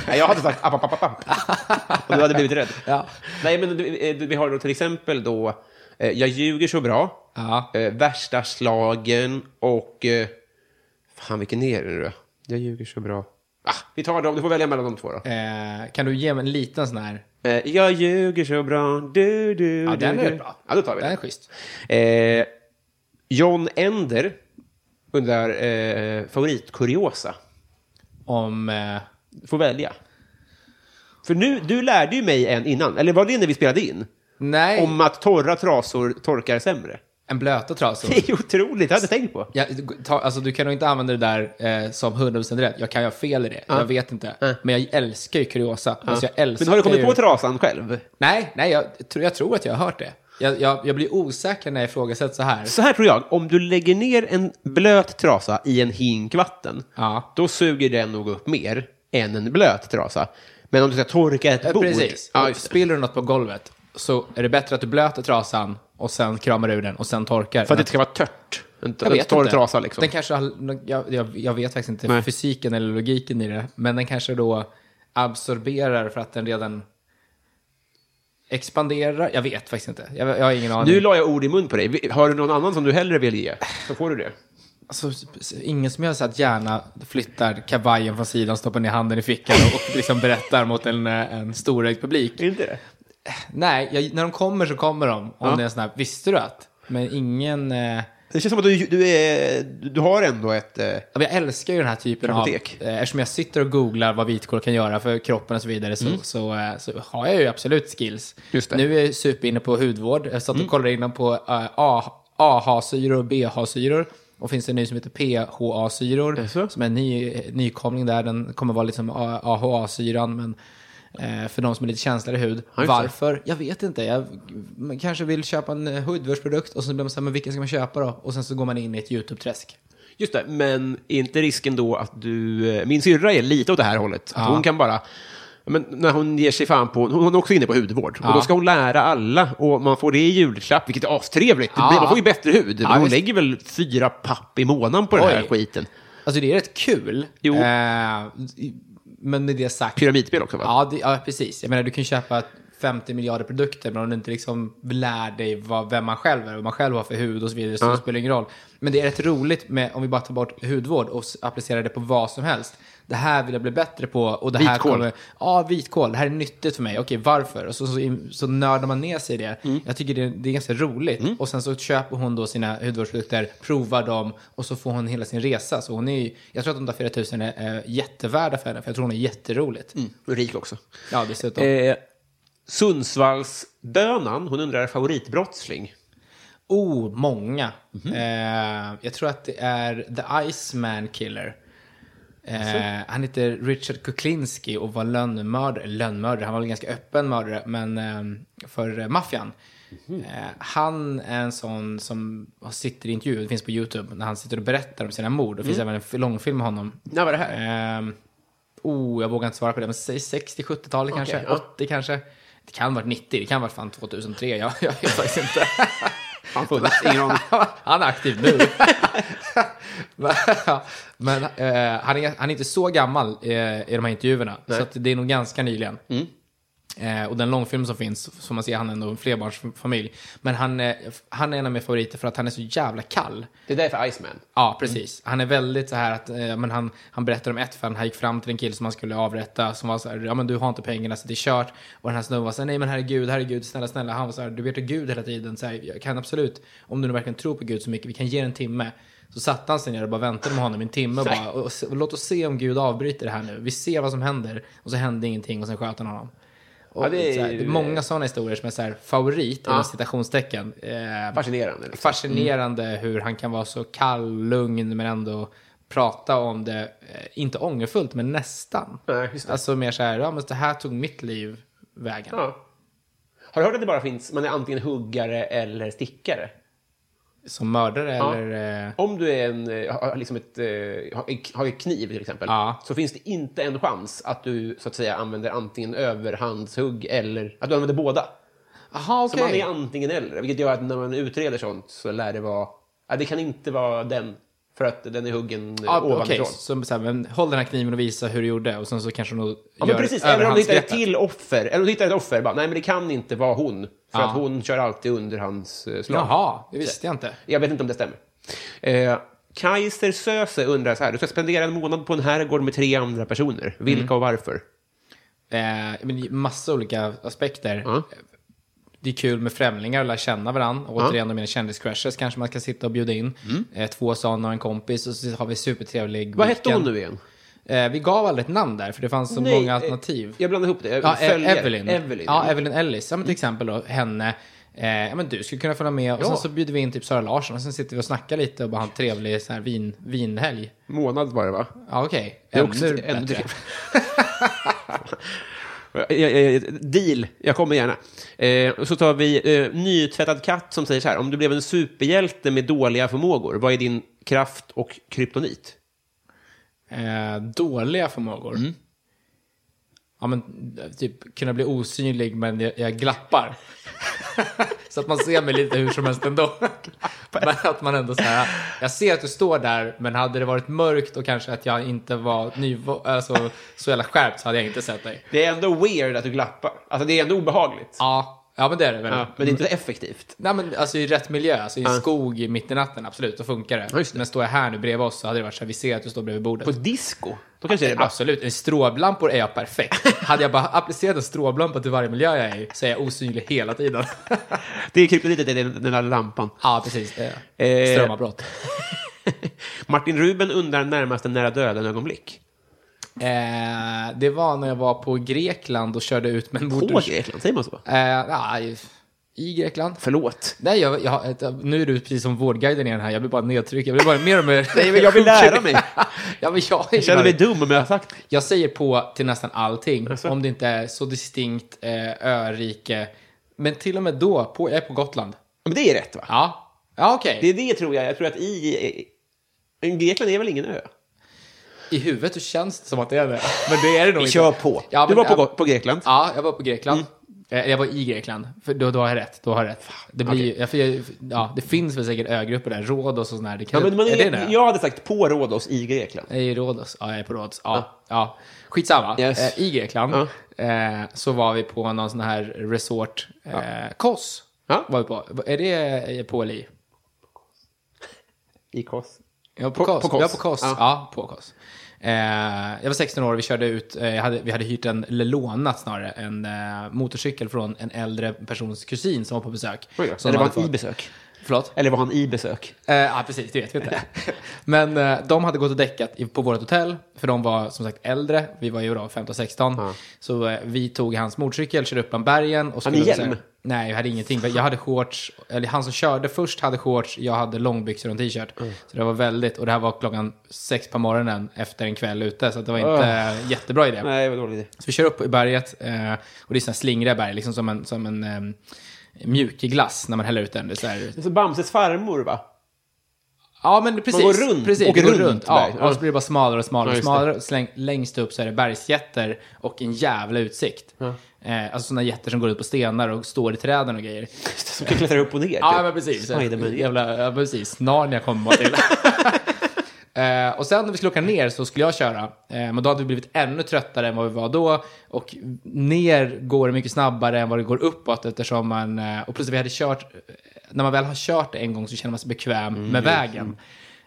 B: Nej, jag hade sagt app, app, app, app. Och du hade blivit rädd.
C: Ja.
B: Nej, men du, eh, du, vi har då till exempel då eh, Jag ljuger så bra,
C: Ja.
B: eh, Värsta slagen och... Eh, fan, vilken är det nu då? Jag ljuger så bra. Ah, vi tar dem, du får välja mellan de två då.
C: eh, kan du ge mig en liten sån här?
B: Eh, jag ljuger så bra, du, du,
C: Ja,
B: du,
C: den är
B: du.
C: rätt bra.
B: Ja, då tar vi
C: Den är schysst.
B: Eh, John Ender undrar eh, favoritkuriosa.
C: Om... Eh,
B: Du får välja. För nu, du lärde ju mig en innan, eller var det när vi spelade in?
C: nej,
B: Om att torra trasor torkar sämre.
C: en blöta trasor.
B: Det är otroligt, det hade jag tänkt på.
C: Ja, ta, alltså, du kan nog inte använda det där eh, som 100% rätt. Jag kan ju ha fel i det. Jag vet inte. Men jag älskar ju kuriosa. Alltså, jag älskar
B: Men har du kommit
C: ju...
B: på trasan själv?
C: Nej, nej jag, tror, jag tror att jag har hört det. Jag, jag, jag blir osäker när jag ifrågasätter så här.
B: Så här tror jag, om du lägger ner en blöt trasa i en hink vatten,
C: Ja.
B: då suger den nog upp mer än en blöt trasa. Men om du ska torka ett
C: Eh,
B: bord...
C: Precis.
B: Ja,
C: Och
B: just det.
C: Spiller du något på golvet så är det bättre att du blöter trasan och sen kramar ur den och sen torkar.
B: För att det ska vara tört. En,
C: Jag
B: en
C: vet
B: torr
C: inte.
B: trasa liksom.
C: Den kanske har, jag, jag, jag vet faktiskt inte
B: Nej.
C: fysiken eller logiken i det, men den kanske då absorberar för att den redan expanderar. Jag vet faktiskt inte. Jag, jag har ingen aning.
B: Nu la jag ord i mun på dig. Har du någon annan som du hellre vill ge, så får du det.
C: Alltså, ingen som jag har sett gärna flyttar kavajen från sidan, stoppar ner handen i fickan och, och liksom berättar mot en, eh, en storögd publik.
B: Inte det?
C: Nej, jag, när de kommer så kommer de. Om det är en sån här, visste du att? Men ingen... Eh,
B: Det känns som att du, du, är, du har ändå ett... eh,
C: Ja, men Jag älskar ju den här typen
B: Kartotek.
C: av... eh, Eftersom jag sitter och googlar vad vitkål kan göra för kroppen och så vidare så, så, eh, så har jag ju absolut skills.
B: Mm. Just det. Mm.
C: Nu är jag ju superinne på hudvård. Jag satt och kollade innan på eh, A- AHA-syror och BH-syror. Och finns det en ny som heter PHA-syror.
B: Jaså?
C: Som är en ny, eh, nykomling där. Den kommer vara liksom A- AHA-syran. Men eh, för de som är lite känsligare i hud.
B: det.
C: Varför? Jag vet inte. Jag man kanske vill köpa en eh, hudvårdsprodukt och så blir man så här, men vilken ska man köpa då? Och sen så går man in i ett YouTube-träsk.
B: Just det, men är inte risken då att du... eh, Min syrra är lite åt det här hållet. Att hon kan bara... Men när hon ger sig fan på... Hon är också inne på hudvård. Och då ska hon lära alla. Och man får det i julklapp, vilket är astrevligt. Det
C: Ja.
B: blir- Man får ju bättre hud. men hon
C: visst.
B: lägger väl fyra papp i månaden på den här
C: Oj.
B: skiten.
C: Alltså det är rätt kul.
B: Jo.
C: Eh, men med det sagt.
B: Pyramidspel också, va?
C: Ja, det, ja, precis. Jag menar, du kan ju köpa 50 miljarder produkter, men om du inte liksom lär dig vad, vem man själv är, vad man själv har för hud och så vidare, så spelar det ingen roll. Men det är rätt roligt med, om vi bara tar bort hudvård och s- applicerar det på vad som helst. Det här vill jag bli bättre på och det här
B: Vitkål.
C: kommer... Ja, vitkål. Det här är nyttigt för mig. Okej, varför? Och så, så, så nördar man ner sig i det. Jag tycker det, det är ganska roligt. Och sen så köper hon då sina hudvårdsprodukter, provar dem och så får hon hela sin resa. Så hon är ju, jag tror att de där 4000 är eh, jättevärda för henne, för jag tror hon är jätteroligt.
B: Och rik också.
C: Ja, dessutom.
B: Eh, Sundsvallsbönan, hon undrar favoritbrottsling.
C: Oh, många. eh, jag tror att det är The Iceman Killer. Eh, han heter Richard Kuklinski och var lönnmördare. Lönnmördare, han var väl ganska öppen mördare, men eh, för eh, maffian. Eh, han är en sån som sitter i intervjuer, det finns på YouTube, när han sitter och berättar om sina mord. Det finns även en f- långfilm med honom.
B: När var det här?
C: Ehm, oh, jag vågar inte svara på det, men säg 60-70-talet kanske,
B: ja.
C: 80 kanske. Det kan ha varit 90, det kan ha varit fan 2003, jag, jag vet faktiskt inte.
B: Han funnits, ingen aning.
C: Han är aktiv nu. Men, ja, Men eh, han, är, han är inte så gammal eh, i de här intervjuerna, så att det är nog ganska nyligen. Eh, och den långfilm som finns, som man ser, han är ändå en flerbarnsfamilj. Men han, eh, han är en av mina favoriter för att han är så jävla kall.
B: Det är därför Iceman.
C: Ja, precis. Han är väldigt så här att, eh, men han, han berättar om ett fall, han gick fram till en kille som han skulle avrätta, som var så här, ja men du har inte pengarna så det är kört. Och den här snubben var så här, nej men herregud, herregud, snälla, snälla. Han var så här, du ber till Gud hela tiden, så här, jag kan absolut, om du nu verkligen tror på Gud så mycket, vi kan ge dig en timme. Så satte han sig ner och bara väntade med honom i en timme och bara, och, och, och, låt oss se om Gud avbryter det här nu. Vi ser vad som händer. Och så hände ingenting och sen sköt han honom. Och
B: Ja, det
C: det,
B: är-
C: är, så här, det är många sådana historier som är så här favorit, inom citationstecken. Eh,
B: Fascinerande. Liksom.
C: fascinerande hur han kan vara så kall, lugn men ändå prata om det, eh, inte ångerfullt men nästan.
B: Nej, just det.
C: Alltså mer så här, ja men det här tog mitt liv vägen.
B: Ja. Har du hört att det bara finns, man är antingen huggare eller stickare?
C: Som mördare
B: Ja.
C: eller... eh,
B: Om du är en, eh, har, liksom ett, eh, har- har en kniv till exempel,
C: Ja.
B: så finns det inte en chans att du så att säga använder antingen överhandshugg eller att du använder båda.
C: Jaha,
B: Så
C: okej.
B: man är antingen eller, vilket gör att när man utreder sånt så lär det vara, ja, det kan inte vara den, för att den är huggen eh,
C: Ja,
B: ovanifrån.
C: okej, så, så här, men håll den här kniven och visa hur du gjorde och sen så kanske de
B: Ja, men precis. Eller om du hittar ett till offer. Eller om du hittar ett offer. Bara, nej, men det kan inte vara hon. För
C: Ja.
B: att hon kör alltid under hans eh, slag.
C: Jaha, det visste jag inte.
B: Jag vet inte om det stämmer. Eh, Kaiser Söze undrar så här. Du ska spendera en månad på en herrgård med tre andra
C: Mm.
B: personer. Vilka och varför?
C: Eh, men det är massa olika aspekter.
B: Ja.
C: Det är kul med främlingar och lära känna varandra. Och Återigen, de mina kändiscrashes kanske man ska sitta och bjuda in. Eh, två sådana och en kompis och så har vi supertrevlig
B: Mm. Vad hette hon
C: weekend.
B: nu igen?
C: Eh, vi gav aldrig ett namn där, för det fanns så
B: Nej,
C: många
B: eh,
C: alternativ.
B: Jag blandade ihop det.
C: Ja,
B: Följer.
C: e- Evelyn.
B: Evelyn. Mm.
C: Ja, Evelyn Ellis. Ja, men till exempel då, henne. Eh, ja, men du skulle kunna följa med. Och
B: Ja.
C: sen så bjuder vi in typ Sara Larsson och sen sitter vi och snackar lite och bara har en trevlig så här, vin, vinhelg.
B: Månad var det, va?
C: Ja, okej.
B: Det är också
C: Ännu
B: ännu
C: bättre.
B: Jag- jag- jag- Eh, Deal, jag kommer gärna. Eh, och så tar vi eh, nytvättad katt som säger så här. Om du blev en superhjälte med dåliga förmågor, vad är din kraft och kryptonit?
C: Eh, dåliga förmågor.
B: Mm.
C: Ja, men typ kunna bli osynlig men jag, jag glappar. så att man ser mig lite hur som helst ändå. men att man ändå så här, jag ser att du står där men hade det varit mörkt och kanske att jag inte var ny, alltså, så jävla skärpt så hade jag inte sett dig.
B: Det är ändå weird att du glappar. Alltså det är ändå obehagligt.
C: Ja, ja men det är det väl.
B: Ja, men det är inte så effektivt.
C: Nej men alltså i rätt miljö, alltså i en skog i mitt i natten, absolut, då funkar det.
B: Ja, just det.
C: Men står jag här nu bredvid oss så hade det varit så här, vi ser att du står bredvid bordet.
B: På ett disco, då kanske det är bara...
C: Absolut, i stråblampor är jag perfekt. Hade jag bara applicerat en stråblampa till varje miljö jag är i så är jag osynlig hela tiden.
B: Alltså. Det är kryptonitet, det är den den där lampan.
C: ja, precis. Eh,
B: Eh.
C: Strömavbrott.
B: Martin Ruben undrar närmaste nära döden-ögonblick.
C: Eh, det var när jag var på Grekland och körde ut med en
B: På
C: motors...
B: Grekland, säger man så?
C: Eh, ja, i- I Grekland.
B: Förlåt.
C: Nej, jag, jag, nu är du precis som vårdguiden igen här. Jag blir bara nedtryckt. Jag blir bara mer och mer...
B: Nej, men jag vill lära mig.
C: ja, men jag,
B: Jag känner mig dum om jag har sagt det.
C: Jag säger på till nästan allting, om det inte är så distinkt eh, örike. Men till och med då, på, jag är på Gotland.
B: Men det är rätt, va?
C: Ja, ja okej.
B: Det är det, tror jag. Jag tror att i... i- Grekland är väl ingen ö?
C: I huvudet så känns det som att det är det. Men det är det nog
B: Vi
C: inte.
B: kör på. du
C: Ja, men-
B: var på,
C: ja,
B: Go- på Grekland.
C: Ja, jag var på Grekland. Eh, Jag var i Grekland, för då, då har jag rätt. Då har jag rätt. Det, blir, jag, för jag, ja, det finns väl säkert ögrupper där, Rhodos och sån här. Det kan,
B: Ja, men man
C: är,
B: är,
C: det en ö?
B: jag hade sagt på Rhodos i Grekland.
C: Jag är i Rhodos. Ja, jag är på Rhodos. Ja, ja. Skitsamma.
B: Yes.
C: Eh, I Grekland eh, så var vi på någon sån här resort. Eh, Kos
B: Ja.
C: var vi på. Är det eh, på eller i?
B: I Kos.
C: Ja,
B: På-
C: på, Kos.
B: på Kos.
C: Ja, på Kos.
B: Ja.
C: Ja. på Kos. Eh, jag var 16 år, vi körde ut, eh, jag hade, vi hade hyrt en, eller lånat snarare, en eh, motorcykel från en äldre persons kusin som var på besök.
B: Oj då.
C: Som
B: Eller var
C: hade
B: han i
C: fått-
B: besök?
C: Förlåt?
B: Eller var han i besök?
C: Eh, ja, precis. Det vet vi inte. Men eh, de hade gått och däckat i- på vårt hotell, för de var som sagt äldre. Vi var ju då 15-16. Så eh, vi tog hans motorcykel, körde upp bland bergen. Och skulle-
B: hjälm?
C: Nej, jag hade ingenting. Jag hade shorts, eller han som körde först hade shorts, jag hade långbyxor och en t-shirt.
B: Mm.
C: Så det var väldigt, och det här var klockan sex på morgonen efter en kväll ute, så att det var inte eh, jättebra idé.
B: Nej, vad dålig idé.
C: Så vi kör upp i berget eh, och det är sådana slingriga berg, liksom som en, som en eh, mjuk glass när man häller ut den. Det är så här,
B: Det är så Bamses farmor, va?
C: Ja, men precis.
B: går runt,
C: precis.
B: åker
C: det går
B: runt
C: Ja,
B: berg.
C: och så blir det bara smalare och smalare
B: Ja,
C: och
B: just det.
C: smalare. Släng, längst upp så är det bergsjätter och en jävla utsikt. Eh, alltså sådana jätter som går ut på stenar och står i träden och grejer.
B: Som kan klättra upp och ner.
C: Ja,
B: typ.
C: men precis. Mm.
B: Spiderman.
C: Jävla, ja, precis. Narnia kommer man till. Eh, och sen när vi skulle åka ner så skulle jag köra. Eh, men då hade vi blivit ännu tröttare än vad vi var då. Och ner går det mycket snabbare än vad det går uppåt eftersom man... Eh, och plus att vi hade kört... När man väl har kört en gång så känner man sig bekväm med vägen.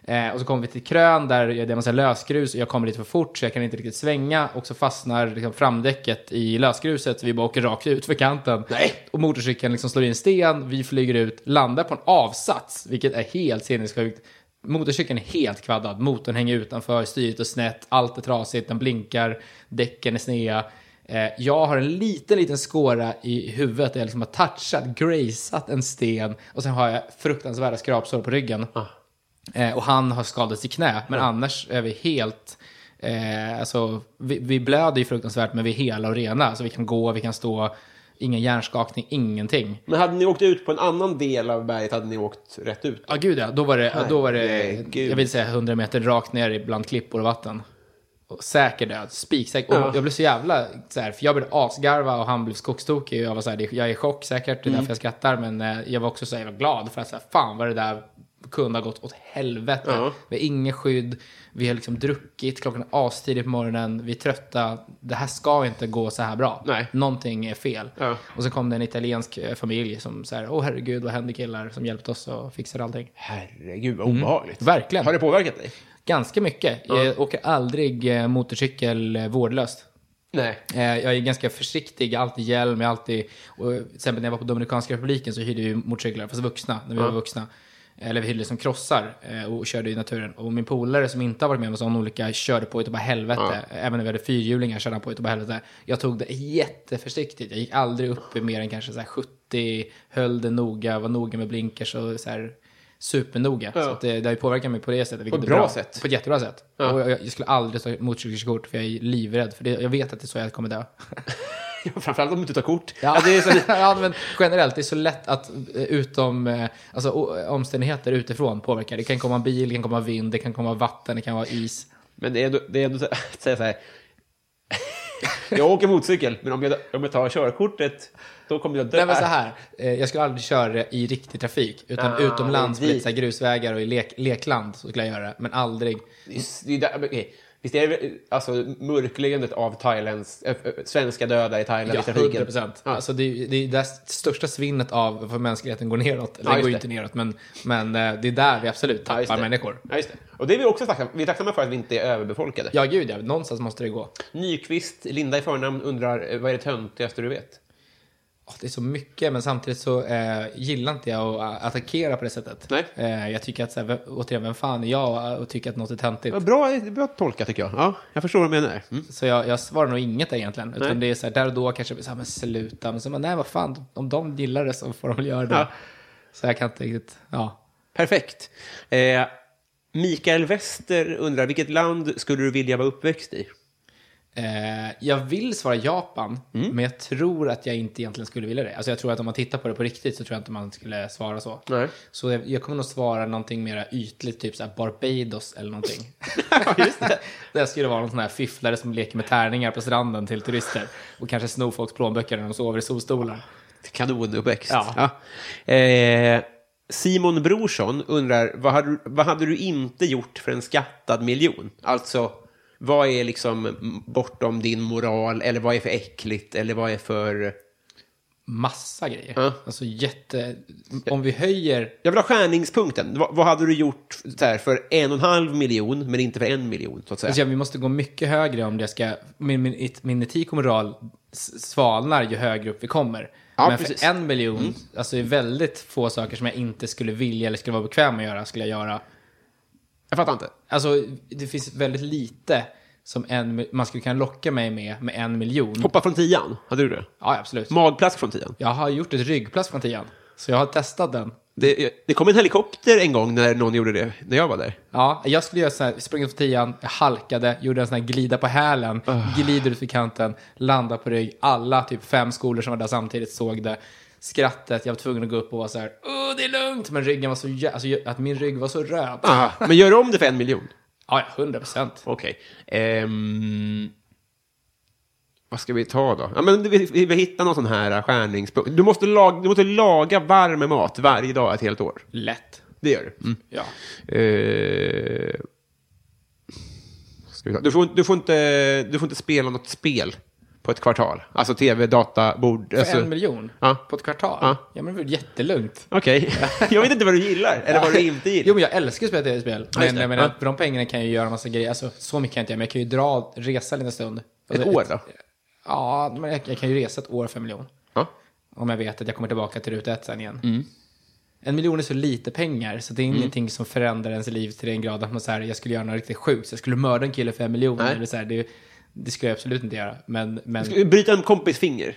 C: Eh, och så kommer vi till krön där det är en massa lösgrus och jag kommer lite för fort så jag kan inte riktigt svänga och så fastnar liksom framdäcket i lösgruset så vi bara åker rakt ut för kanten.
B: Nej.
C: Och motorcykeln liksom slår i en sten, vi flyger ut, landar på en avsats vilket är helt sinnessjukt. Motorcykeln är helt kvaddad, motorn hänger utanför, styret är snett, allt är trasigt, den blinkar, däcken är snea. Eh, Jag har en liten, liten skåra i huvudet där jag liksom har touchat, graceat en sten och sen har jag fruktansvärda skrapsår på ryggen. Eh, och han har skadats i knä, men annars är vi helt... Eh, alltså, vi, vi blöder ju fruktansvärt, men vi är hela och rena. Så vi kan gå, vi kan stå, ingen hjärnskakning, ingenting.
B: Men hade ni åkt ut på en annan del av berget hade ni åkt rätt ut.
C: Ja, gud ja. Då var det, då var det
B: Herregud.
C: jag vill säga 100 meter rakt ner i bland klippor och vatten. Och säker död, spiksäker. Och jag blev så jävla så här, för jag började asgarva och han blev skogstokig. Och jag var så här, det- jag är i chock säkert, det är därför jag skrattar. Men eh, jag var också så jävla glad för att så här, fan vad det där kunde ha gått åt helvete. Vi har ingen skydd, vi har liksom druckit, klockan är astidigt på morgonen, vi är trötta. Det här ska inte gå så här bra.
B: Nej.
C: Någonting är fel.
B: Ja.
C: Och så kom det en italiensk eh, familj som så här, åh herregud vad händer killar? Som hjälpte oss och fixade allting.
B: Herregud, vad obehagligt.
C: Mm. Verkligen.
B: Har det påverkat dig?
C: Ganska mycket. Jag åker aldrig eh, motorcykel eh, vårdlöst.
B: Nej.
C: Eh, Jag är ganska försiktig, jag har alltid hjälm, jag har alltid... Och till exempel när jag var på Dominikanska republiken så hyrde vi motorcyklar, fast vuxna, när vi var vuxna. Eller vi hyrde som krossar eh, och körde i naturen. Och min polare som inte har varit med om en sån olycka körde på utav bara helvete. Även när vi hade fyrhjulingar körde han på utav bara helvete. Jag tog det jätteförsiktigt. Jag gick aldrig upp i mer än kanske så här 70, höll det noga, var noga med blinkers och så här supernoga. Så att det, det har ju påverkat mig på det sättet. vilket
B: ett
C: är
B: bra sätt.
C: På ett jättebra sätt. Och jag, jag skulle aldrig ta motorcykelkort för jag är livrädd. För det, jag vet att det är så jag kommer dö.
B: Framförallt om du inte tar kort.
C: Ja.
B: Alltså, det är så...
C: ja, men generellt, det är så lätt att eh, utom, eh, alltså, o- omständigheter utifrån påverkar. Det kan komma en bil, det kan komma vind, det kan komma vatten, det kan vara is.
B: Men det är ändå, det är ändå så- att säga så här. jag åker motorcykel, men om jag, om jag tar körkortet, då kommer jag dö.
C: Nej, men så här, eh, jag skulle aldrig köra i riktig trafik. Utan
B: Ah,
C: utomlands på
B: dit.
C: lite så här grusvägar och i lek, lekland så skulle jag göra det. Men aldrig.
B: Det är- det är där- okej. Visst är det alltså, mörkläggandet av thailändsk, äh, äh, svenska döda i Thailand
C: Ja,
B: i trafiken?
C: 100 procent.
B: Ja.
C: Alltså, det, är- det är det största svinnet av för mänskligheten går neråt. Eller
B: Ja,
C: det
B: just
C: går
B: det.
C: ju inte neråt, men, men eh, det är där vi absolut
B: Ja,
C: tappar
B: just det.
C: människor.
B: Ja, just det. Och det är vi också tacksamma, vi är tacksamma för att vi inte är överbefolkade.
C: Ja, gud ja. Någonstans måste det gå.
B: Nyqvist, Linda i förnamn, undrar eh, vad är det töntigaste du vet?
C: Åh, det är så mycket, men samtidigt så eh, gillar inte jag att eh, attackera på det sättet.
B: Nej.
C: Eh, jag tycker att, så här, vem- återigen, vem fan är jag och tycker att något är töntigt?
B: Bra, bra tolka tycker jag. Ja, jag förstår vad du menar. Mm.
C: Så jag, jag svarar nog inget där egentligen. Utan
B: Nej.
C: det är så här, där och då kanske jag blir så här, men sluta. Men så bara, nej vad fan, om de gillar det så får de väl göra det.
B: Ja.
C: Så jag kan inte riktigt, ja.
B: Perfekt. Eh, Mikael Wester undrar, vilket land skulle du vilja vara uppväxt i?
C: Eh, jag vill svara Japan,
B: Mm.
C: men jag tror att jag inte egentligen skulle vilja det. Alltså jag tror att om man tittar på det på riktigt så tror jag inte man skulle svara så.
B: Nej.
C: Så jag, jag kommer nog svara någonting mer ytligt, typ så här Barbados eller någonting.
B: Just det.
C: Där skulle det vara någon sån här fifflare som leker med tärningar på stranden till turister. Och kanske snor folks plånböcker när de sover i solstolar.
B: Kanonuppväxt.
C: Ja.
B: Ja. Eh, Simon Brorsson undrar, vad hade, du- vad hade du inte gjort för en skattad miljon? Alltså, vad är liksom bortom din moral, eller vad är för äckligt, eller vad är för...
C: Massa grejer.
B: Ja.
C: Alltså jätte... Om vi höjer...
B: Jag vill ha skärningspunkten. Vad, vad hade du gjort så här, för en och en halv miljon, men inte för en miljon, så att säga?
C: Alltså, ja, vi måste gå mycket högre om det ska... Min, min, it- min etik och moral s- svalnar ju högre upp vi kommer.
B: Ja,
C: Men
B: precis. Mm.
C: för en miljon, alltså det är väldigt få saker som jag inte skulle vilja eller skulle vara bekväm med att göra, skulle jag göra.
B: Jag fattar inte.
C: Alltså, det finns väldigt lite som en, man skulle kunna locka mig med, med en miljon.
B: Hoppa från tian, hade du det?
C: Ja, absolut.
B: Magplask från tian.
C: Jag har gjort ett ryggplast från tian, så jag har testat den.
B: Det, det kom en helikopter en gång när någon gjorde det, när jag var där.
C: Ja, jag skulle göra så här, springa från tian, jag halkade, gjorde en sån här glida på hälen,
B: Öh.
C: glider ut vid kanten, landar på rygg. Alla typ fem skolor som var där samtidigt såg det. Skrattet, jag var tvungen att gå upp och vara så här, åh det är lugnt, men ryggen var så jä- alltså, att min rygg var så röd. Ja,
B: Aha, men gör om det för en miljon.
C: ja, hundra procent.
B: Okej. Ehm, vad ska vi ta då? Ja, men vi, vi, vi hittar någon sån här äh, skärningspunkt. Du måste, lag, du måste laga varm mat varje dag ett helt år.
C: Lätt.
B: Det gör du. Mm.
C: Ja.
B: Eh, Ska vi ta. Du, får, du, får inte, du får inte spela något spel på ett kvartal. Alltså tv, data, bord.
C: För
B: Alltså,
C: en miljon?
B: Ja.
C: På ett kvartal?
B: Ja.
C: ja men det är väl jättelugnt.
B: Okej. jag vet inte vad du gillar eller vad du inte gillar.
C: Jo men jag älskar att spela tv-spel. Men,
B: det.
C: jag menar,
B: Ja.
C: för de pengarna kan jag ju göra en massa grejer. Alltså så mycket kan jag inte göra, men jag kan ju dra, resa en liten stund. Alltså,
B: ett år då?
C: Ja, men jag, jag kan ju resa ett år för en miljon.
B: Ja.
C: Om jag vet att jag kommer tillbaka till ruta ett sen igen.
B: Mm.
C: En miljon är så lite pengar, så det är ingenting som förändrar ens liv till den grad att man säger jag skulle göra något riktigt sjukt. Så jag skulle mörda en kille för en miljon.
B: Nej.
C: Eller så här, det, det skulle jag absolut inte göra. Men, men
B: Ska vi Bryta en kompis finger.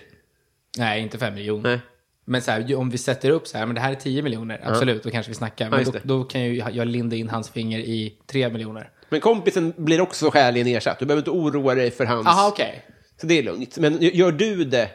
C: nej, inte för en miljon.
B: Nej.
C: Men så här, ju- om vi sätter upp så här, men det här är 10 miljoner, absolut, då kanske vi snackar. Men
B: just
C: då,
B: det.
C: då kan ju jag linda in hans finger i 3 miljoner.
B: Men kompisen blir också skäligen ersatt. Du behöver inte oroa dig för hans...
C: Aha, okej.
B: Så det är lugnt. Men gör du det?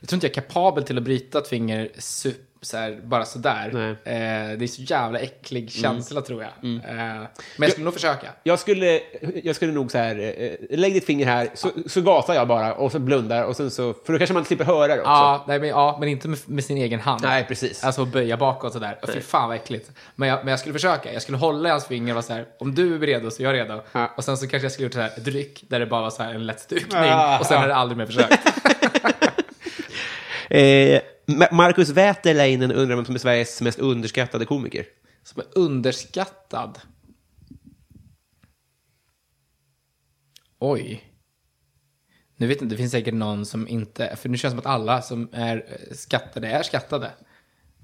C: Jag tror inte jag är kapabel till att bryta ett finger su- så här, bara sådär.
B: Nej. Mm.
C: Eh, det är så jävla äcklig känsla tror jag. Eh, men jag skulle nog försöka.
B: Jag skulle, jag skulle nog så här, eh, lägg ditt finger här, så, så gasar jag bara och så blundar och sen så, för då kanske man slipper höra det också.
C: Ja, nej, men, ja, men inte med, med sin egen hand.
B: Nej, precis.
C: Alltså att böja bakåt sådär. Fy fan vad äckligt. Men jag, men jag skulle försöka. Jag skulle hålla i hans finger och vara såhär, om du är redo så är jag redo.
B: Ja.
C: Och sen så kanske jag skulle gjort såhär, ett ryck där det bara var såhär en lätt stukning.
B: Ja,
C: och sen
B: ja.
C: hade jag aldrig mer försökt.
B: Eh, Ma- Marcus Wäterleinen undrar vem som är Sveriges mest underskattade komiker.
C: Som är underskattad. Oj. Nu vet jag inte, det finns säkert någon som inte... För nu känns det som att alla som är eh, skattade är skattade.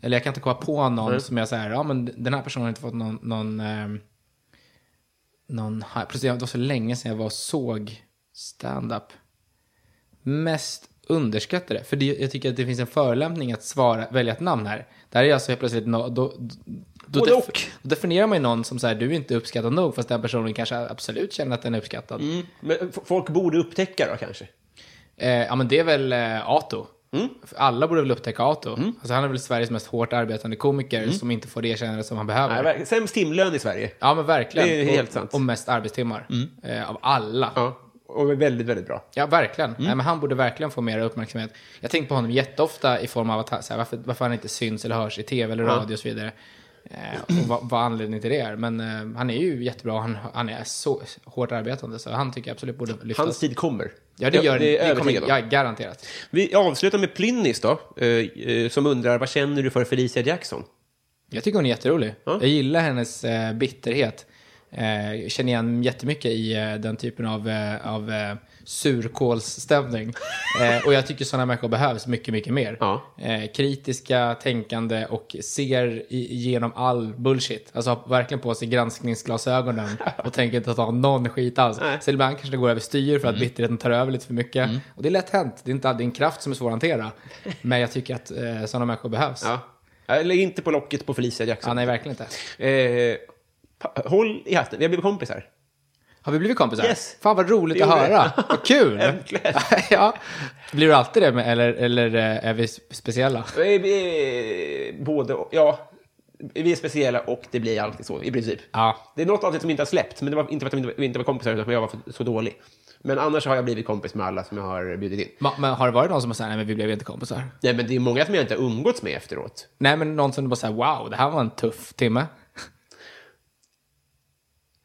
C: Eller jag kan inte komma på någon som jag säger, ja men den här personen har inte fått någon... någon, ehm, någon hype." Precis, det var så länge sedan jag var och såg stand-up. Mest underskattade? För det, jag tycker att det finns en förolämpning att svara, välja ett namn här. Där är alltså helt plötsligt... No, då, då,
B: Både och.
C: då definierar man ju någon som säger du är inte uppskattad nog, fast den personen kanske absolut känner att den är uppskattad.
B: Men f- folk borde upptäcka då kanske?
C: Eh, ja, men det är väl eh, Ato.
B: Mm.
C: För Alla borde väl upptäcka Ato. Alltså, han är väl Sveriges mest hårt arbetande komiker som inte får det erkännande som han behöver.
B: Mm. Nej, verkligen. Sämst timlön i Sverige.
C: ja, men verkligen.
B: Det är helt
C: och,
B: sant. Mm.
C: och mest arbetstimmar. Eh, av alla.
B: Ja, och är väldigt, väldigt bra.
C: Ja, verkligen.
B: Mm.
C: Nej, men han borde verkligen få mer uppmärksamhet. Jag tänker på honom jätteofta i form av att han, så här, varför, varför han inte syns eller hörs i tv eller radio och så vidare. Eh, och vad, vad anledningen till det är. Men eh, han är ju jättebra. Han, han är så hårt arbetande så han tycker jag absolut borde lyftas.
B: Hans tid kommer.
C: ja, det gör
B: jag, det. Är
C: det.
B: jag
C: kommer,
B: övertygad om.
C: ja, garanterat.
B: Vi avslutar med Plynnis då, eh, eh, som undrar vad känner du för Felicia Jackson?
C: Jag tycker hon är jätterolig. Jag gillar hennes eh, bitterhet. Eh, jag känner igen jättemycket i eh, den typen av, eh, av eh, surkålsstämning. eh, och jag tycker sådana människor behövs mycket, mycket mer.
B: Ja.
C: Eh, kritiska, tänkande och ser i- igenom all bullshit. Alltså har verkligen på sig granskningsglasögonen och tänker inte ta någon skit alls. Så ibland kanske det går över styr för att
B: Mm.
C: bitterheten tar över lite för mycket. Och det är lätt hänt. Det är inte alltid en kraft som är svår att hantera. Men jag tycker att eh, sådana människor behövs.
B: Ja. Eh, Lägg inte på locket på Felicia Jackson.
C: Ja, nej, verkligen inte.
B: Eh, pa- håll i hatten, vi har blivit kompisar.
C: Har vi blivit kompisar?
B: Yes.
C: Fan vad roligt
B: Det
C: att
B: gjorde
C: höra.
B: vi.
C: Vad kul.
B: Äntligen.
C: ja. Blir du alltid det med, eller, eller eh, är vi speciella?
B: Eh, eh, Både och, ja. Vi är speciella och det blir alltid så, i princip.
C: Ja.
B: Det är något avsnitt som inte har släppt, men det var inte för att vi inte- vi inte var kompisar, utan för att jag var för- så dålig. Men annars har jag blivit kompis med alla som jag har bjudit in.
C: Ma- Men har det varit någon som har sagt nej men vi blev inte kompisar?
B: Nej, men det är många som jag inte har umgåtts med efteråt.
C: Nej men någon som bara säger wow det här var en tuff timme.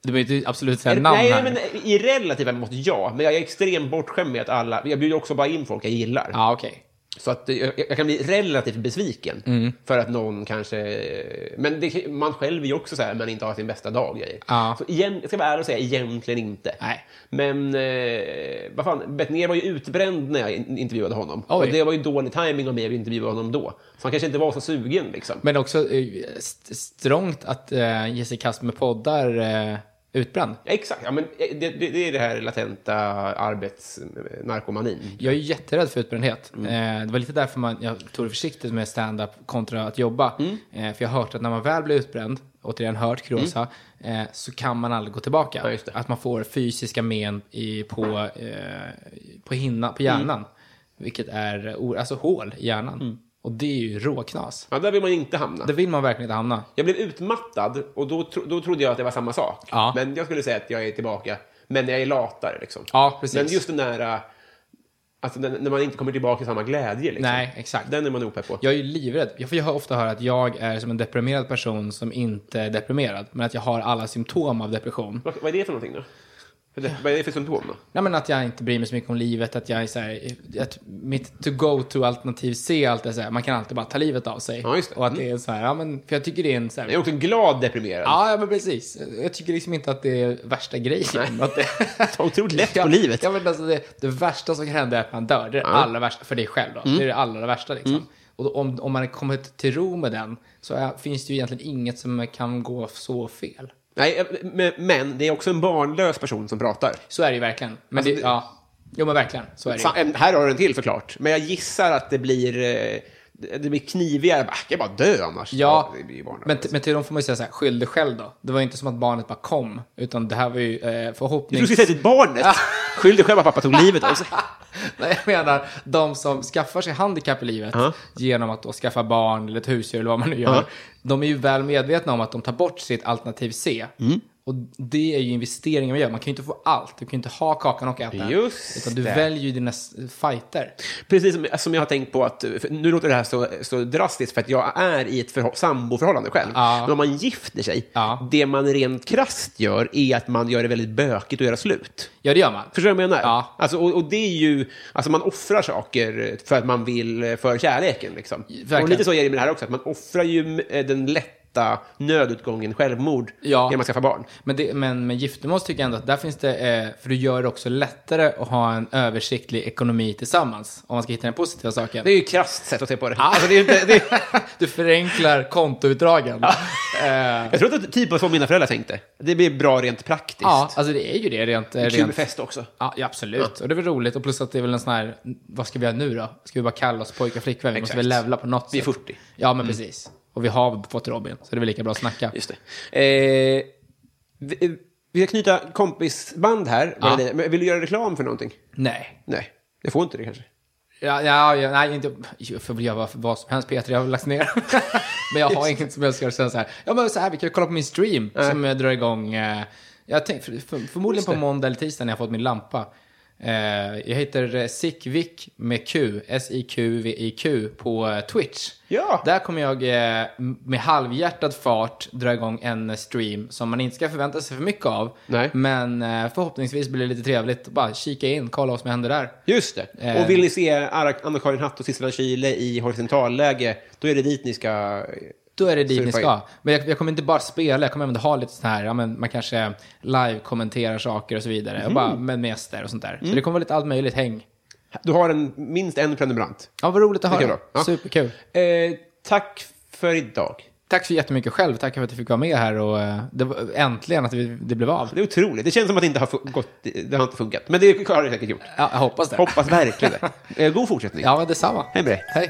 C: Du behöver inte absolut säga
B: Eller-
C: namn
B: nej,
C: här.
B: men i relativa mått ja. Men jag är extremt bortskämd med att alla... Jag bjuder också bara in folk jag gillar.
C: Ja okej.
B: Så att eh, jag, jag kan bli relativt besviken
C: Mm.
B: för att någon kanske... eh, Men det, man själv är ju också så här, man inte har sin bästa dag. grejer.
C: Ja.
B: Så igen, jag ska vara ärlig och säga, egentligen inte.
C: Nej.
B: Men eh, vad fan, Bettner var ju utbränd när jag in- intervjuade honom.
C: Oj.
B: Och det var ju dålig timing av mig att intervjua honom då. Så han kanske inte var så sugen liksom.
C: Men också eh, st- strångt att eh, ge sig i kast med poddar eh, utbränd.
B: Ja, exakt, ja, men eh, det, det, det är det här latenta eh, arbetsnarkomanin.
C: Jag är ju jätterädd för utbrändhet.
B: Mm.
C: Eh, det var lite därför man, jag tog det försiktigt med stand-up kontra att jobba.
B: Mm.
C: Eh, för jag har hört att när man väl blir utbränd, återigen hört Kurosa, eh, så kan man aldrig gå tillbaka.
B: Mm. Ja, just det.
C: att man får fysiska men i, på, eh, på, hinna, på hjärnan.
B: Mm.
C: Vilket är o- alltså hål i hjärnan. Och det är ju råknas.
B: Ja, där vill man inte hamna.
C: Det vill man verkligen inte hamna.
B: Jag blev utmattad och då, tro, då trodde jag att det var samma sak.
C: Ja.
B: Men jag skulle säga att jag är tillbaka. Men jag är latare liksom.
C: Ja, precis.
B: Men just den där, äh, alltså den, när man inte kommer tillbaka i samma glädje liksom.
C: Nej, exakt.
B: Den är man opepp på.
C: Jag är ju livrädd. Jag får ju ofta höra att jag är som en deprimerad person som inte är deprimerad. Men att jag har alla symptom av depression.
B: Vad, vad är det för någonting då? Eller, Vad är det för symptom då?
C: Nej, men att jag inte bryr mig så mycket om livet, att jag är så här, att mitt to go to alternativ C alltid är så här, man kan alltid bara ta livet av sig.
B: Ja, just det.
C: Och att det är så här, ja men, för jag tycker det är en så
B: Jag är
C: här,
B: också glad deprimerad.
C: Ja, ja, men precis. Jag tycker liksom inte att det är värsta grejen. Att det...
B: Ta otroligt lätt på
C: Ja,
B: livet.
C: Ja, men alltså det, det värsta som kan hända är att man dör. Det är det allra värsta för dig själv. Då.
B: Mm.
C: Det är det allra värsta. Liksom. Och då, om, om man kommer till ro med den så är, finns det ju egentligen inget som kan gå så fel.
B: Nej, eh, men, men det är också en barnlös person som pratar.
C: Så är det ju verkligen. Men
B: Alltså,
C: det, ja. Jo, men verkligen. Så är det ju.
B: Fan, en- här har du en till såklart. Men jag gissar att det blir, eh, det det blir knivigare. Bara, Jag kan bara dö annars.
C: Ja,
B: det blir ju barnlöst.
C: men, t- men till dem får man ju säga så här, skyll dig själv då. Det var ju inte som att barnet bara kom, utan det här var ju eh,
B: Du
C: förhoppnings...
B: skulle säga till barnet. Skyll dig själv att pappa tog livet av sig.
C: Nej, jag menar de som skaffar sig handikapp i livet genom att då skaffa barn eller ett husdjur eller vad man nu gör. De är ju väl medvetna om att de tar bort sitt alternativ C.
B: Mm.
C: Och det är ju investeringar man gör. Man kan ju inte få allt. Du kan ju inte ha kakan och äta den.
B: Just
C: Utan du
B: det.
C: väljer ju dina s- fighter.
B: Precis som, som jag har tänkt på att, för nu låter det här så, så drastiskt för att jag är i ett förho- samboförhållande själv.
C: Ja.
B: Men om man gifter sig,
C: Ja.
B: det man rent krasst gör är att man gör det väldigt bökigt att göra slut.
C: Ja, det gör man.
B: Förstår du vad jag menar?
C: Ja.
B: Alltså, och, och det är ju, alltså man offrar saker för att man vill, för kärleken. Liksom.
C: Verkligen.
B: Och lite så är det med det här också, att man offrar ju eh, den lätta nödutgången självmord
C: Ja.
B: genom att skaffa barn.
C: Men, det, men med giftermål tycker jag ändå att där finns det, eh, för du gör det också lättare att ha en översiktlig ekonomi tillsammans. Om man ska hitta den positiva saken.
B: Det är ju ett krasst sätt att se på det.
C: Alltså, det är inte, det är, du förenklar kontoutdragen. Eh,
B: Jag tror att det är typ så mina föräldrar tänkte. Det blir bra rent praktiskt.
C: Ja, alltså det är ju det rent... eh,
B: Kul
C: rent
B: fest också.
C: Ja, ja, absolut. Och det är väl roligt. Och plus att det är väl en sån här, vad ska vi göra nu då? Ska vi bara kalla oss pojkar och flickvän? Vi måste
B: Exakt.
C: väl levla på något
B: Vi är
C: sätt.
B: 40.
C: Ja, men precis. Och vi har fått Robin, så det är väl lika bra att snacka.
B: Just det. Eh, vi, eh, vi ska knyta kompisband här.
C: Ja.
B: Men Vill du göra reklam för någonting?
C: Nej.
B: Nej, jag får inte det kanske.
C: Ja, ja, ja, nej, inte... Jag får väl göra vad, vad som helst, Peter. Jag har väl lagt ner. men jag har inget som jag ska säga så här. Ja, men så här, vi kan ju kolla på min stream som eh, drar igång... Eh, jag tänk, för, för, förmodligen på måndag eller tisdag när jag har fått min lampa. Eh, jag heter eh, Sikvik med Q, S-I-Q-V-I-Q, på eh, Twitch.
B: Ja.
C: Där kommer jag eh, med halvhjärtad fart dra igång en eh, stream som man inte ska förvänta sig för mycket av.
B: Nej.
C: Men eh, förhoppningsvis blir det lite trevligt. Bara kika in, kolla vad som händer där.
B: Just det.
C: Eh.
B: Och vill ni se Ar- Anna-Karin Hatt och Sissela Kyle i horisontalläge, då är det dit ni ska...
C: Då är det dit ni
B: Surfa in.
C: ska. Men jag, jag kommer inte bara spela, jag kommer även ha lite sån här, ja, men man kanske live-kommenterar saker och så vidare.
B: Mhm.
C: Jag bara, med gäster och sånt där.
B: Mm.
C: Så det kommer vara lite allt möjligt häng.
B: Du har en, minst en prenumerant.
C: Ja, vad roligt att
B: Det kan
C: höra.
B: vara. Ja.
C: Superkul.
B: Eh, tack för idag.
C: Tack så jättemycket själv. Tack för att du fick vara med här och eh, det var, äntligen att vi, det blev av.
B: Alltså, Det är otroligt. Det känns som att det inte har, fu- gått, det har inte funkat. Men det har det säkert gjort.
C: Ja, jag hoppas det.
B: Hoppas verkligen det. Eh, god fortsättning.
C: Ja, men detsamma.
B: Hej med dig.
C: Hej.